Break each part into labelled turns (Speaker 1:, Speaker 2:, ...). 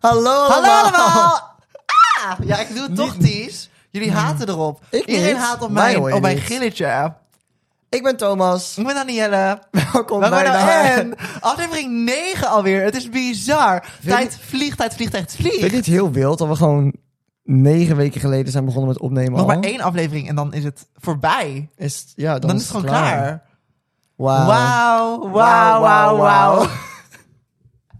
Speaker 1: Hallo
Speaker 2: Hallo
Speaker 1: allemaal. Mm.
Speaker 2: allemaal! Ah! Ja, ik doe het toch, Ties. Jullie haten erop.
Speaker 1: Ik
Speaker 2: Iedereen
Speaker 1: niet.
Speaker 2: haat op
Speaker 1: Mij
Speaker 2: mijn,
Speaker 1: hoor je
Speaker 2: op mijn
Speaker 1: niet.
Speaker 2: gilletje.
Speaker 1: Ik ben Thomas.
Speaker 2: Ik ben Danielle.
Speaker 1: Welkom
Speaker 2: Welkom
Speaker 1: bij
Speaker 2: bij
Speaker 1: de-
Speaker 2: En. Aflevering 9 alweer. Het is bizar. Tijd vliegt, tijd vliegt, tijd
Speaker 1: Vind je
Speaker 2: vliegt.
Speaker 1: het heel wild dat we gewoon negen weken geleden zijn begonnen met opnemen
Speaker 2: Nog
Speaker 1: al?
Speaker 2: maar één aflevering en dan is het voorbij.
Speaker 1: Is, het- ja, dan,
Speaker 2: Dan is het gewoon klaar.
Speaker 1: Wauw.
Speaker 2: Wauw, wauw,
Speaker 1: Wauw,
Speaker 2: wauw,
Speaker 1: wauw,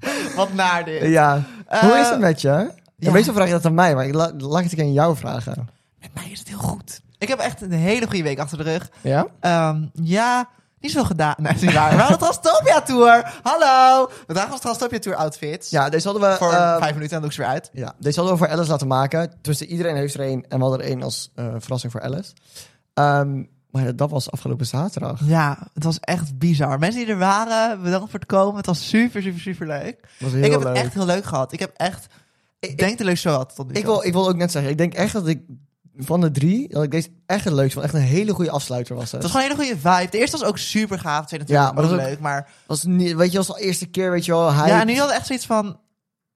Speaker 2: wauw. Wat naar dit.
Speaker 1: Ja. Hoe is het met je?
Speaker 2: Eh, ja.
Speaker 1: Ja. Meestal vraag je dat aan mij, maar ik la- laat ik het aan jou vragen.
Speaker 2: Met mij is het heel goed. Ik heb echt een hele goede week achter de rug.
Speaker 1: Ja?
Speaker 2: Ehm, ja, niet zo gedaan. Nee, dat is niet waar. We hadden Transtopia Tour. Hallo. We dragen ons Transtopia Tour Ehm, outfits.
Speaker 1: Ja, deze hadden we...
Speaker 2: Voor
Speaker 1: eh,
Speaker 2: vijf minuten en dan doe ik ze weer uit.
Speaker 1: ja, deze hadden we voor Alice laten maken. Tussen iedereen heeft er één en we hadden er één als eh, verrassing voor Alice. Ehm, maar dat was afgelopen zaterdag.
Speaker 2: Ja, het was echt bizar. Mensen die er waren, bedankt voor het komen. Het was super, super, super leuk.
Speaker 1: Was heel
Speaker 2: ik heb
Speaker 1: leuk.
Speaker 2: het echt heel leuk gehad. Ik heb echt... Ik denk de leukste show had tot nu toe.
Speaker 1: Ik wil, ik wil ook net zeggen, ik denk echt dat ik van de drie, dat ik deze echt het leukste vond. Echt een hele goede afsluiter was het.
Speaker 2: Het was gewoon een hele goede vibe. De eerste was ook super gaaf. De tweede
Speaker 1: Ja,
Speaker 2: natuurlijk
Speaker 1: maar dat
Speaker 2: ook
Speaker 1: was ook-
Speaker 2: leuk. Maar
Speaker 1: was niet, weet je, was de eerste keer, weet je wel, hij...
Speaker 2: ja, en nu had echt zoiets van...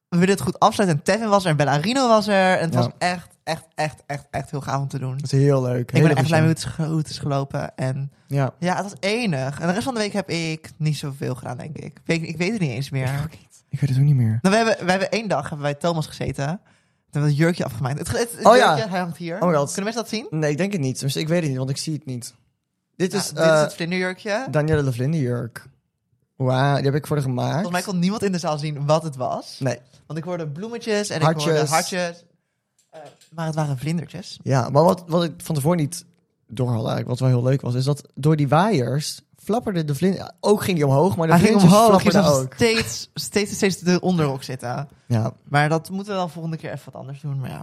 Speaker 2: We willen het goed afsluiten. En Tevin was er en Bellarino was er. En het
Speaker 1: Ja.
Speaker 2: was echt, echt, echt, echt, echt heel gaaf om te doen.
Speaker 1: Dat is heel leuk.
Speaker 2: Ik ben
Speaker 1: Hele
Speaker 2: er echt blij mee hoe het is
Speaker 1: goede
Speaker 2: ge- hoe het is gelopen. En
Speaker 1: show. Ja.
Speaker 2: Ja, het was enig. En de rest van de week heb ik niet zoveel gedaan, denk ik. Ik weet, ik weet het niet eens meer.
Speaker 1: Ik weet het ook niet meer.
Speaker 2: Nou, we, hebben, we hebben één dag hebben wij Thomas gezeten. Toen hebben we het jurkje afgemaakt. Het, het, het
Speaker 1: Oh ja.
Speaker 2: jurkje, hij hangt hier.
Speaker 1: Oh my god.
Speaker 2: Kunnen mensen dat zien?
Speaker 1: Nee, ik denk het niet. Tenminste, ik weet het niet, want ik zie het niet. Dit
Speaker 2: Nou,
Speaker 1: is,
Speaker 2: dit is
Speaker 1: eh,
Speaker 2: het vlinderjurkje.
Speaker 1: Danielle de Vlinderjurk. Wauw, die heb ik voor haar gemaakt.
Speaker 2: Volgens mij kon niemand in de zaal zien wat het was.
Speaker 1: Nee,
Speaker 2: Want ik hoorde bloemetjes en ik hoorde
Speaker 1: Hartjes.
Speaker 2: hartjes. Eh, maar het waren vlindertjes.
Speaker 1: ja, maar wat, wat ik van tevoren niet door had eigenlijk, wat wel heel leuk was, is dat door die waaiers flapperde de vlinder... Ook ging die omhoog, maar de
Speaker 2: Hij ging
Speaker 1: vlindertjes
Speaker 2: omhoog. Je
Speaker 1: flapperden
Speaker 2: zag
Speaker 1: ook.
Speaker 2: steeds, steeds, steeds de onderrok zitten.
Speaker 1: Ja.
Speaker 2: Maar dat moeten we dan volgende keer even wat anders doen. Maar ja,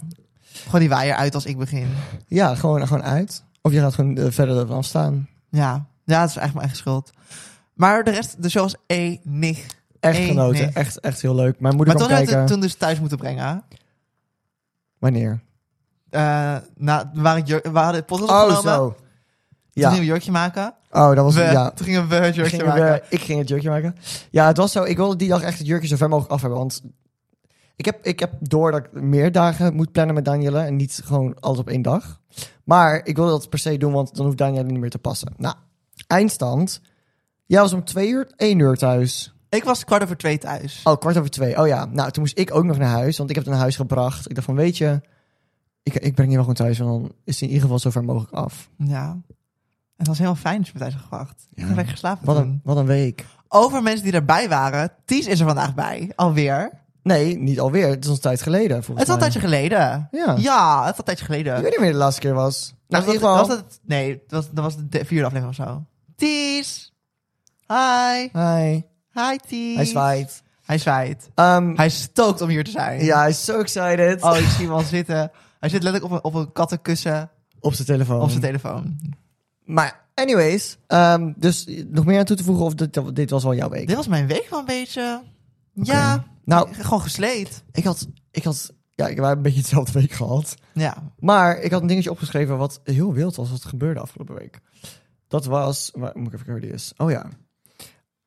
Speaker 2: gewoon die waaier uit als ik begin.
Speaker 1: ja, gewoon, gewoon uit. Of je gaat gewoon eh, verder ervan afstaan.
Speaker 2: Ja, ja, het is eigenlijk mijn eigen schuld. Maar de rest, de show was enig.
Speaker 1: Echt
Speaker 2: Enig.
Speaker 1: genoten, echt, echt heel leuk. Mijn moeder
Speaker 2: Maar toen hebben
Speaker 1: kwam
Speaker 2: we
Speaker 1: kijken.
Speaker 2: het toen dus thuis moeten brengen.
Speaker 1: Wanneer?
Speaker 2: Eh nou, we, waren het jur- we hadden het podcast
Speaker 1: Oh,
Speaker 2: opgenomen.
Speaker 1: zo.
Speaker 2: Toen
Speaker 1: Ja.
Speaker 2: gingen we jurkje maken.
Speaker 1: Oh, dat was
Speaker 2: We,
Speaker 1: ja.
Speaker 2: Toen gingen we het jurkje
Speaker 1: Gingen we-
Speaker 2: maken.
Speaker 1: ik ging het jurkje maken. Ja, het was zo. Ik wilde die dag echt het jurkje zo ver mogelijk af hebben. Want ik heb, ik heb door dat ik meer dagen moet plannen met Danielle. En niet gewoon alles op één dag. Maar ik wilde dat per se doen, want dan hoeft Danielle niet meer te passen. Nou, eindstand. Jij was om twee uur, één uur thuis.
Speaker 2: Ik was kwart over twee thuis.
Speaker 1: Oh, kwart over twee. Oh ja. Nou, toen moest ik ook nog naar huis, want ik heb het naar huis gebracht. Ik dacht van, weet je, ik, ik breng je wel gewoon thuis. En dan is het in ieder geval zo ver mogelijk af.
Speaker 2: Ja. Het was helemaal fijn dat je me thuis had gewacht. Ik heb lekker geslapen
Speaker 1: Wat een,
Speaker 2: toen.
Speaker 1: wat een week.
Speaker 2: Over mensen die erbij waren. Ties is er vandaag bij. Alweer.
Speaker 1: Nee, niet alweer. Het is al een tijd geleden. volgens
Speaker 2: Het is al een
Speaker 1: mij.
Speaker 2: tijdje geleden.
Speaker 1: Ja.
Speaker 2: Ja, het is al een tijdje geleden.
Speaker 1: Ik weet niet meer de laatste keer was. Nou,
Speaker 2: was
Speaker 1: in
Speaker 2: dat,
Speaker 1: ieder geval.
Speaker 2: was dat- nee, dat was, dat was de vierde aflevering of zo. Ties! Hi!
Speaker 1: Hi.
Speaker 2: Hi Ties!
Speaker 1: Hij zwaait.
Speaker 2: Hij zwaait.
Speaker 1: Ehm,
Speaker 2: Hij stookt om hier te zijn.
Speaker 1: ja, hij is zo excited.
Speaker 2: Oh, ik zie hem al zitten. Hij zit letterlijk op een, op een kattenkussen
Speaker 1: Op zijn telefoon.
Speaker 2: op zijn telefoon.
Speaker 1: maar, anyways. ehm, dus nog meer aan toe te voegen of dit, dit was wel jouw week?
Speaker 2: Dit was mijn week wel een beetje... Ja,
Speaker 1: Nou,
Speaker 2: gewoon gesleed.
Speaker 1: ik had, ik had, ja, ik heb een beetje hetzelfde week gehad.
Speaker 2: Ja.
Speaker 1: Maar ik had een dingetje opgeschreven wat heel wild was wat gebeurde afgelopen week. Dat was, waar, moet ik even kijken waar die is. Oh ja.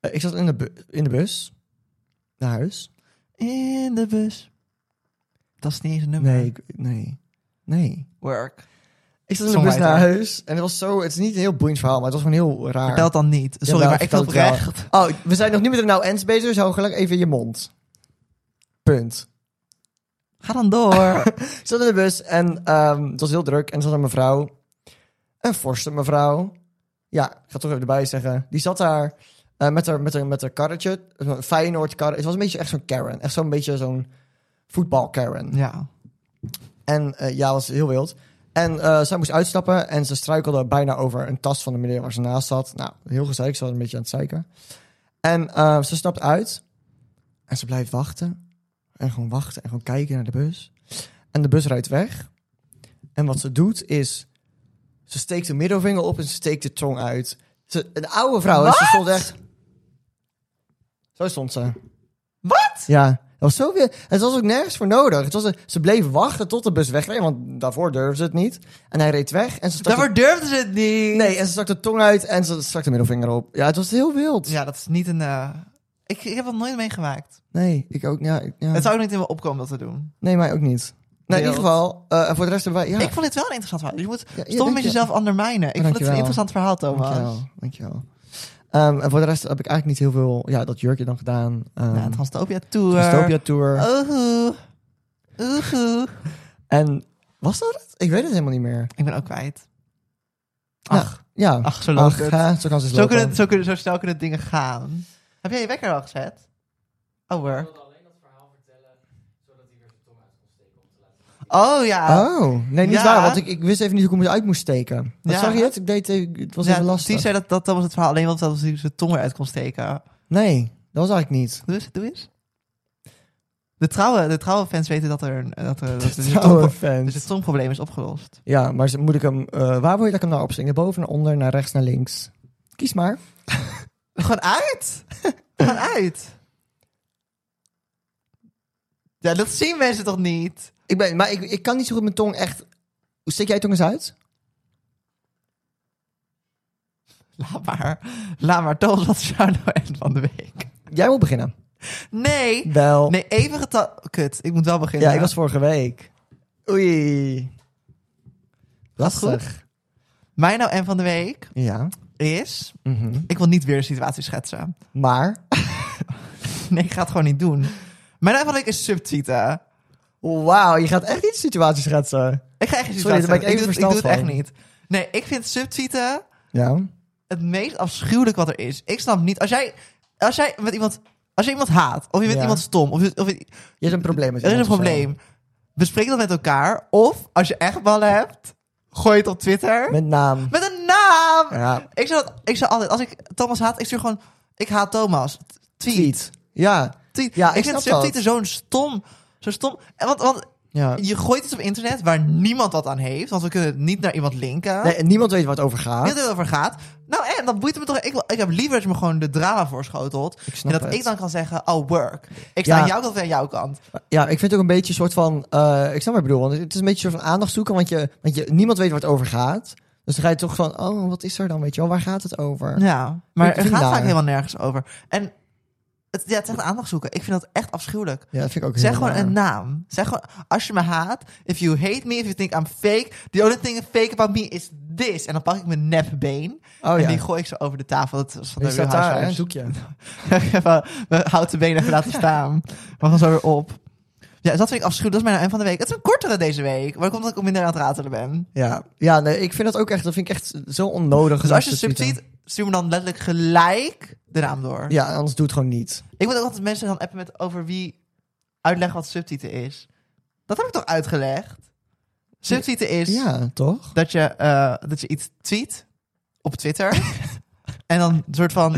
Speaker 1: Eh, ik zat in de, bu- in de bus naar huis.
Speaker 2: In de bus. Dat is niet eens een nummer.
Speaker 1: Nee, ik- nee, nee.
Speaker 2: Work.
Speaker 1: Ik zat in de bus
Speaker 2: Songwriter.
Speaker 1: naar huis en het was zo, het is niet een heel boeiend verhaal, maar het was gewoon heel raar.
Speaker 2: Vertel het dan niet. Sorry,
Speaker 1: Jawel,
Speaker 2: maar ik wil
Speaker 1: vertel het
Speaker 2: oprecht.
Speaker 1: Oh, we zijn nog niet met een nou ens bezig, dus hou gelijk even je mond. Punt.
Speaker 2: Ga dan door.
Speaker 1: Ik zat in de bus en ehm, het was heel druk en er zat een mevrouw, een forse mevrouw. Ja, ik ga toch even erbij zeggen. Die zat daar eh, met, haar, met, haar, met haar karretje, een Feyenoord karretje. Het was een beetje echt zo'n Karen, echt zo'n beetje zo'n voetbal Karen.
Speaker 2: ja.
Speaker 1: En eh, ja, was heel wild. En eh, zij moest uitstappen en ze struikelde bijna over een tas van de meneer waar ze naast zat. Nou, heel gezeik. Ze was een beetje aan het zeiken. En eh, ze stapt uit en ze blijft wachten. En gewoon wachten en gewoon kijken naar de bus. En de bus rijdt weg. En wat ze doet is, ze steekt de middelvinger op en ze steekt de tong uit. Ze, een oude vrouw, en ze stond echt... Zo stond ze.
Speaker 2: Wat?
Speaker 1: Ja, dat was zo weer. Het was ook nergens voor nodig. Het was een- ze bleef wachten tot de bus wegreed, want daarvoor durfde ze het niet. En hij reed weg en ze stak,
Speaker 2: Daarvoor durfden ze het niet.
Speaker 1: de, nee, en ze stak de tong uit en ze stak de middelvinger op. Ja, het was heel wild.
Speaker 2: Ja, dat is niet een eh, Ik, ik heb dat nooit meegemaakt.
Speaker 1: Nee, ik ook. Ja, ik- ja.
Speaker 2: Het zou ook niet in me opkomen dat te doen.
Speaker 1: Nee, mij ook niet. Nou, in
Speaker 2: Beeld.
Speaker 1: ieder geval, eh, en voor de rest hebben wij... Ja,
Speaker 2: Ik vond dit wel een interessant verhaal. Je moet
Speaker 1: ja,
Speaker 2: stop een
Speaker 1: dank
Speaker 2: beetje
Speaker 1: je-
Speaker 2: zelf ondermijnen. Ik vond het een
Speaker 1: Dankjewel.
Speaker 2: interessant verhaal, Thomas.
Speaker 1: Dankjewel, dankjewel. Ehm, en voor de rest heb ik eigenlijk niet heel veel... Ja, dat jurkje dan gedaan. ehm,
Speaker 2: Ja, Nou, het Transtopia Tour. Oh.
Speaker 1: Dystopia Tour.
Speaker 2: Oehoe. Oehoe.
Speaker 1: En was dat het? Ik weet het helemaal niet meer.
Speaker 2: Ik ben ook kwijt.
Speaker 1: Nou,
Speaker 2: Ach,
Speaker 1: Ja.
Speaker 2: ach, zo loopt
Speaker 1: Ach,
Speaker 2: het.
Speaker 1: hè, zo kan ze het
Speaker 2: Zo,
Speaker 1: lopen.
Speaker 2: kunnen, zo, kunnen, zo snel kunnen dingen gaan. Heb jij je wekker al gezet? Oh, work. Oh ja.
Speaker 1: Oh, nee, niet
Speaker 2: Ja.
Speaker 1: waar. Want ik, ik wist even niet hoe ik hem uit moest steken. Dat
Speaker 2: Ja.
Speaker 1: zag je het? Ik deed, eh, het was
Speaker 2: ja,
Speaker 1: even lastig.
Speaker 2: Steve zei dat, dat dat was het verhaal alleen want dat hij zijn tong eruit kon steken.
Speaker 1: Nee, dat was eigenlijk niet.
Speaker 2: Doe eens, doe eens. De trouwe, de trouwe fans weten dat er, een- dat er dat er een
Speaker 1: Trouwe
Speaker 2: tongpro- dus
Speaker 1: fans.
Speaker 2: het tongprobleem is opgelost.
Speaker 1: Ja, maar ze- moet ik hem... eh, waar wil je dat ik hem nou opsteek? Naar boven, naar onder, naar rechts, naar links? Kies maar.
Speaker 2: Gewoon uit! Gewoon uit! Ja, dat zien mensen toch niet?
Speaker 1: Ik ben, maar ik, ik kan niet zo goed mijn tong echt... Steek jij je tong eens uit?
Speaker 2: Laat maar. Laat maar. Thomas, wat is jouw nou end van de week?
Speaker 1: Jij wil beginnen.
Speaker 2: Nee!
Speaker 1: Wel.
Speaker 2: Nee, even getal... Kut, ik moet wel beginnen.
Speaker 1: ja, ik was vorige week. Oei. Lastig.
Speaker 2: Mijn nou end van de week
Speaker 1: Ja.
Speaker 2: is...
Speaker 1: Mhm.
Speaker 2: Ik wil niet weer een situatie schetsen.
Speaker 1: Maar...
Speaker 2: Nee, ik ga het gewoon niet doen. Mijn nou end van de week is subtieten.
Speaker 1: Wauw, je gaat echt iets situaties schetsen.
Speaker 2: Ik ga echt geen situatie
Speaker 1: Sorry, daar ben ik
Speaker 2: schetsen.
Speaker 1: even
Speaker 2: doe, het- ik doe het
Speaker 1: versteld
Speaker 2: echt niet. Nee, ik vind subtieten...
Speaker 1: Ja.
Speaker 2: het meest afschuwelijk wat er is. Ik snap niet. Als jij, als jij met iemand. Als je iemand haat, of je vindt
Speaker 1: Ja.
Speaker 2: iemand stom, of, je- of je-
Speaker 1: Je hebt een probleem met
Speaker 2: er is een
Speaker 1: iemand of zo.
Speaker 2: probleem, bespreek dat met elkaar. Of als je echt ballen hebt, gooi het op Twitter met,
Speaker 1: Met naam.
Speaker 2: een naam.
Speaker 1: Ja.
Speaker 2: Ik zou dat, ik zou altijd, als ik Thomas haat, ik stuur gewoon, ik haat Thomas. T- Tweet.
Speaker 1: Tweet. Ja.
Speaker 2: Tweet.
Speaker 1: Ja,
Speaker 2: ik,
Speaker 1: ik
Speaker 2: vind
Speaker 1: snap dat.
Speaker 2: subtieten zo'n stom, zo stom. En Want, want
Speaker 1: ja.
Speaker 2: je gooit iets op internet waar niemand wat aan heeft, want we kunnen het niet naar iemand linken.
Speaker 1: Nee, en niemand weet waar het over gaat.
Speaker 2: Niet dat het over gaat. Nou, en dat boeit me toch. Ik, wil- ik heb liever dat je me gewoon de drama voorschotelt.
Speaker 1: Ik snap
Speaker 2: En dat
Speaker 1: het.
Speaker 2: ik dan kan zeggen, oh, work. Ik sta
Speaker 1: Ja.
Speaker 2: aan jouw kant en aan jouw kant.
Speaker 1: Ja, ik vind het ook een beetje een soort van... eh, ik snap wat je bedoelt. Want het is een beetje een soort van aandacht zoeken. Want, je, want je, niemand weet waar het over gaat. Dus dan ga je toch van... Oh, wat is er dan? Weet je wel, waar gaat het over?
Speaker 2: Ja, maar
Speaker 1: Ik
Speaker 2: het
Speaker 1: vind
Speaker 2: gaat
Speaker 1: daar.
Speaker 2: vaak helemaal nergens over. En het, ja, het is echt aandacht zoeken. Ik vind dat echt afschuwelijk.
Speaker 1: Ja, dat vind ik ook
Speaker 2: Zeg
Speaker 1: heel
Speaker 2: gewoon
Speaker 1: raar.
Speaker 2: een naam. Zeg gewoon, als je me haat, if you hate me, if you think I'm fake, the only thing fake about me is this. En dan pak ik mijn nepbeen
Speaker 1: Oh
Speaker 2: en
Speaker 1: ja.
Speaker 2: die gooi ik zo over de tafel. Dat is van de
Speaker 1: Die staat daar, hè, een
Speaker 2: Real
Speaker 1: doekje.
Speaker 2: Even mijn houten benen even laten staan. Maar dan zo weer op. Ja, dus dat vind ik afschuwelijk. Dat is mijn eind van de week. Het is een kortere deze week. Maar dat komt omdat ik minder aan het ratelen ben.
Speaker 1: Ja, ja nee, ik vind dat ook echt... Dat vind ik echt zo onnodig.
Speaker 2: Dus
Speaker 1: om
Speaker 2: als je
Speaker 1: te
Speaker 2: sub
Speaker 1: tweeten.
Speaker 2: ziet, stuur me dan letterlijk gelijk de naam door.
Speaker 1: Ja, anders doe het gewoon niet.
Speaker 2: Ik moet ook altijd mensen dan appen met over wie uitleggen wat subtitel is. Dat heb ik toch uitgelegd? Subtitel is
Speaker 1: Ja, toch?
Speaker 2: dat, je, eh, dat je iets tweet op Twitter. en dan een soort van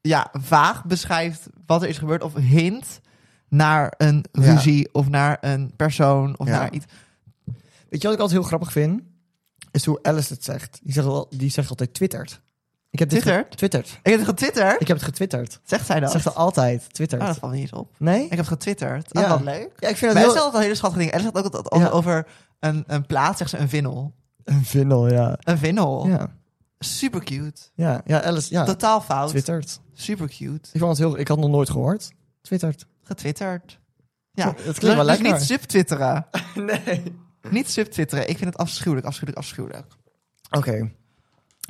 Speaker 2: ja, vaag beschrijft wat er is gebeurd. Of hint naar een
Speaker 1: Ja.
Speaker 2: ruzie of naar een persoon of
Speaker 1: Ja.
Speaker 2: naar iets.
Speaker 1: Weet je wat ik altijd heel grappig vind? Is hoe Alice het zegt. Die zegt, al- die zegt altijd twittert. Ik heb dit ge-
Speaker 2: Twittert?
Speaker 1: twittert.
Speaker 2: Ik heb het getwitterd.
Speaker 1: Ik heb het getwitterd.
Speaker 2: Zegt zij dat?
Speaker 1: Dat zegt ze altijd. Twittert.
Speaker 2: Oh, dat valt me niet eens op.
Speaker 1: nee?
Speaker 2: Ik heb het getwitterd. Oh,
Speaker 1: Ja.
Speaker 2: wat leuk.
Speaker 1: Ja, ik
Speaker 2: Maar
Speaker 1: vind het
Speaker 2: hij
Speaker 1: heel...
Speaker 2: zegt altijd hele schattige dingen. Hij zegt ook altijd
Speaker 1: Ja.
Speaker 2: over een, een plaats, zegt ze een vinnel.
Speaker 1: Een vindel, ja.
Speaker 2: Een vinnel.
Speaker 1: Ja,
Speaker 2: Super cute.
Speaker 1: ja, ja Alice, ja.
Speaker 2: Totaal fout.
Speaker 1: Twittert.
Speaker 2: Super cute.
Speaker 1: Ik, vond het heel, ik had het nog nooit gehoord. Twittert.
Speaker 2: Getwitterd. Ja,
Speaker 1: Het klinkt wel
Speaker 2: Dus
Speaker 1: lekker.
Speaker 2: niet subtwitteren.
Speaker 1: Nee.
Speaker 2: Niet subtwitteren. Ik vind het afschuwelijk, afschuwelijk, afschuwelijk.
Speaker 1: Oké.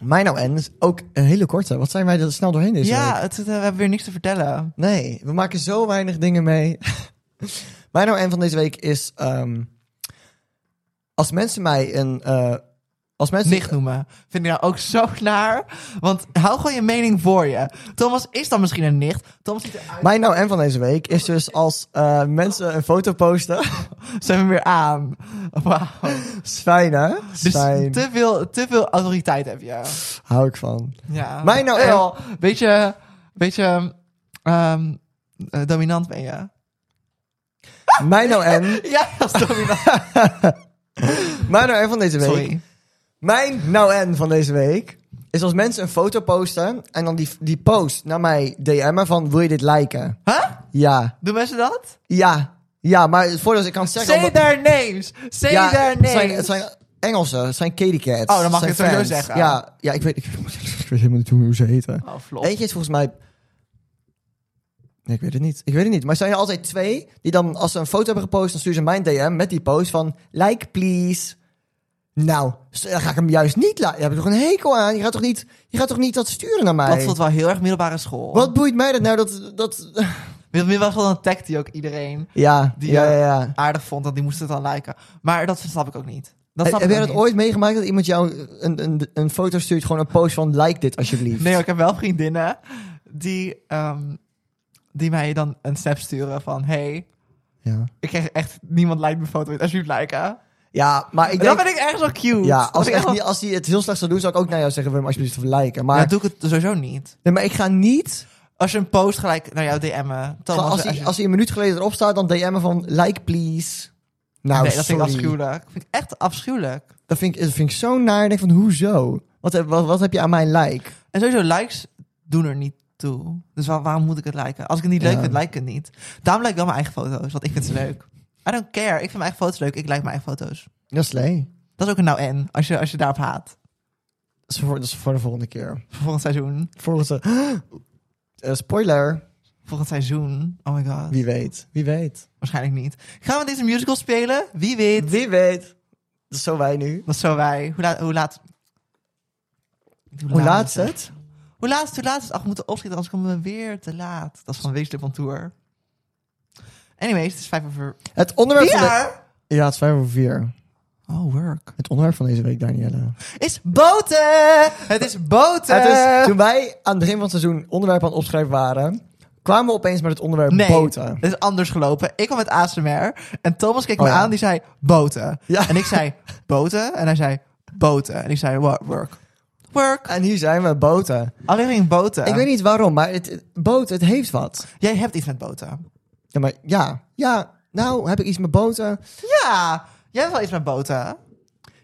Speaker 1: Mijn nou en is ook een hele korte. Wat zijn wij er snel doorheen deze
Speaker 2: ja,
Speaker 1: week?
Speaker 2: het, eh, we hebben weer niks te vertellen.
Speaker 1: Nee, we maken zo weinig dingen mee. Mijn nou en van deze week is... ehm, als mensen mij een... eh, als mensen...
Speaker 2: Nicht noemen. Vind ik nou ook zo naar. Want hou gewoon je mening voor je. Thomas is dan misschien een nicht. Thomas ziet eruit.
Speaker 1: Mijn nou en van deze week is dus als eh, mensen een foto posten.
Speaker 2: Zijn we weer aan. Wauw.
Speaker 1: Fijn hè?
Speaker 2: Dus
Speaker 1: Fijn.
Speaker 2: te veel, te veel autoriteit heb je.
Speaker 1: Hou ik van.
Speaker 2: Ja.
Speaker 1: Mij nou
Speaker 2: Eh,
Speaker 1: en-
Speaker 2: wel, Beetje, beetje ehm, eh, dominant ben je.
Speaker 1: Mijn nou en.
Speaker 2: Ja, dat is dominant.
Speaker 1: Mijn nou en van deze week.
Speaker 2: Sorry.
Speaker 1: Mijn nou en van deze week is als mensen een foto posten. En dan die, die post naar mij DM'en van wil je dit liken?
Speaker 2: Huh?
Speaker 1: Ja.
Speaker 2: Doen mensen dat?
Speaker 1: Ja. Ja, maar het voordeel is ik kan het zeggen...
Speaker 2: Say
Speaker 1: omdat-
Speaker 2: their names. Say
Speaker 1: ja,
Speaker 2: their
Speaker 1: het
Speaker 2: names.
Speaker 1: zijn, het zijn Engelse, het zijn kitty cats.
Speaker 2: Oh, dan mag
Speaker 1: zijn
Speaker 2: je het sowieso
Speaker 1: fans.
Speaker 2: zeggen.
Speaker 1: Ja, ja ik, weet, ik, weet helemaal niet hoe ze heten.
Speaker 2: Oh, flop.
Speaker 1: Eentje is volgens mij Nee, ik weet het niet. Ik weet het niet. Maar zijn er altijd twee die dan, als ze een foto hebben gepost, dan sturen ze mijn DM met die post van like please. Nou, s- dan ga ik hem juist niet laten. Daar heb ik toch een hekel aan. Je gaat toch niet, je gaat toch niet dat sturen naar mij?
Speaker 2: Dat voelt wel heel erg middelbare school.
Speaker 1: Wat boeit mij dat nou? Dat, dat...
Speaker 2: Mid- Middelbare school dan tag die ook iedereen
Speaker 1: Ja,
Speaker 2: Die,
Speaker 1: ja,
Speaker 2: eh,
Speaker 1: ja, ja.
Speaker 2: aardig vond. Dat die moest het dan liken. Maar dat snap ik ook niet. Dat
Speaker 1: Heb
Speaker 2: snap
Speaker 1: heb
Speaker 2: ik
Speaker 1: jij
Speaker 2: ook
Speaker 1: dat
Speaker 2: niet.
Speaker 1: ooit meegemaakt dat iemand jou een, een, een foto stuurt, gewoon een post van like dit alsjeblieft?
Speaker 2: Nee, hoor, ik heb wel vriendinnen die, ehm, die mij dan een snap sturen van... Hey,
Speaker 1: Ja.
Speaker 2: ik krijg echt... Niemand lijkt mijn foto. Alsjeblieft liken.
Speaker 1: ja, maar ik
Speaker 2: En dan
Speaker 1: denk...
Speaker 2: ben ik ergens wel cute.
Speaker 1: Ja,
Speaker 2: Dan
Speaker 1: als,
Speaker 2: ben ik
Speaker 1: echt
Speaker 2: echt wel-
Speaker 1: niet- als hij het heel slecht zou doen, zou ik ook naar jou zeggen, Wim, alsjeblieft liken. Maar,
Speaker 2: Ja, doe ik het sowieso niet.
Speaker 1: nee, maar ik ga niet...
Speaker 2: Als je een post gelijk naar jou DM'en.
Speaker 1: Van,
Speaker 2: Thomas,
Speaker 1: als, hij, als hij een minuut geleden erop staat, dan DM'en van like please. Nou,
Speaker 2: nee, dat vind ik
Speaker 1: sorry.
Speaker 2: afschuwelijk. Dat vind ik echt afschuwelijk.
Speaker 1: Dat vind ik, dat vind ik zo naar. Ik denk van, hoezo? Wat, heb- wat, wat heb je aan mijn like?
Speaker 2: En sowieso, likes doen er niet toe. Dus waar- waarom moet ik het liken? Als ik het niet leuk
Speaker 1: Ja.
Speaker 2: vind, like ik het niet. Daarom like ik wel mijn eigen foto's, want ik vind ze leuk. I don't care. Ik vind mijn eigen foto's leuk. Ik like mijn eigen foto's.
Speaker 1: Dat is lee.
Speaker 2: Dat is ook een nou en, als je, als je daarop haat.
Speaker 1: Dat is voor, dat is voor de volgende keer.
Speaker 2: Voor Volgend seizoen.
Speaker 1: Volgens de... Eh, spoiler.
Speaker 2: Volgend seizoen. Oh my god.
Speaker 1: Wie weet. Wie weet.
Speaker 2: Waarschijnlijk niet. Gaan we deze musical spelen? Wie weet.
Speaker 1: Wie weet. Dat is zo wij nu.
Speaker 2: Dat is zo wij. Hoe laat... Hoe laat,
Speaker 1: Hoe laat is het?
Speaker 2: Hoe laat is het? Hoe laat is het? Ach, we moeten opschieten, anders komen we weer te laat. Dat is van Weeslip on Tour. Anyways, het is vijf over...
Speaker 1: Het onderwerp van de...
Speaker 2: Vier!
Speaker 1: Ja, het is vijf over vier.
Speaker 2: Oh, work.
Speaker 1: Het onderwerp van deze week, Danielle.
Speaker 2: is boten! Het is boten!
Speaker 1: Het is, toen wij aan het begin van het seizoen onderwerpen aan het opschrijven waren, kwamen we opeens met het onderwerp
Speaker 2: nee,
Speaker 1: boten.
Speaker 2: het is anders gelopen. Ik kwam met ASMR en Thomas keek
Speaker 1: Oh
Speaker 2: me
Speaker 1: ja.
Speaker 2: aan, die zei boten.
Speaker 1: Ja.
Speaker 2: En ik zei boten en hij zei boten. En ik zei "Wo- work. Work.
Speaker 1: En hier zijn we, boten.
Speaker 2: Alleen boten.
Speaker 1: Ik weet niet waarom, maar het, het- boten, het heeft wat.
Speaker 2: Jij hebt iets met boten.
Speaker 1: Ja, maar ja, ja, nou heb ik iets met boten.
Speaker 2: Ja, jij hebt wel iets met boten.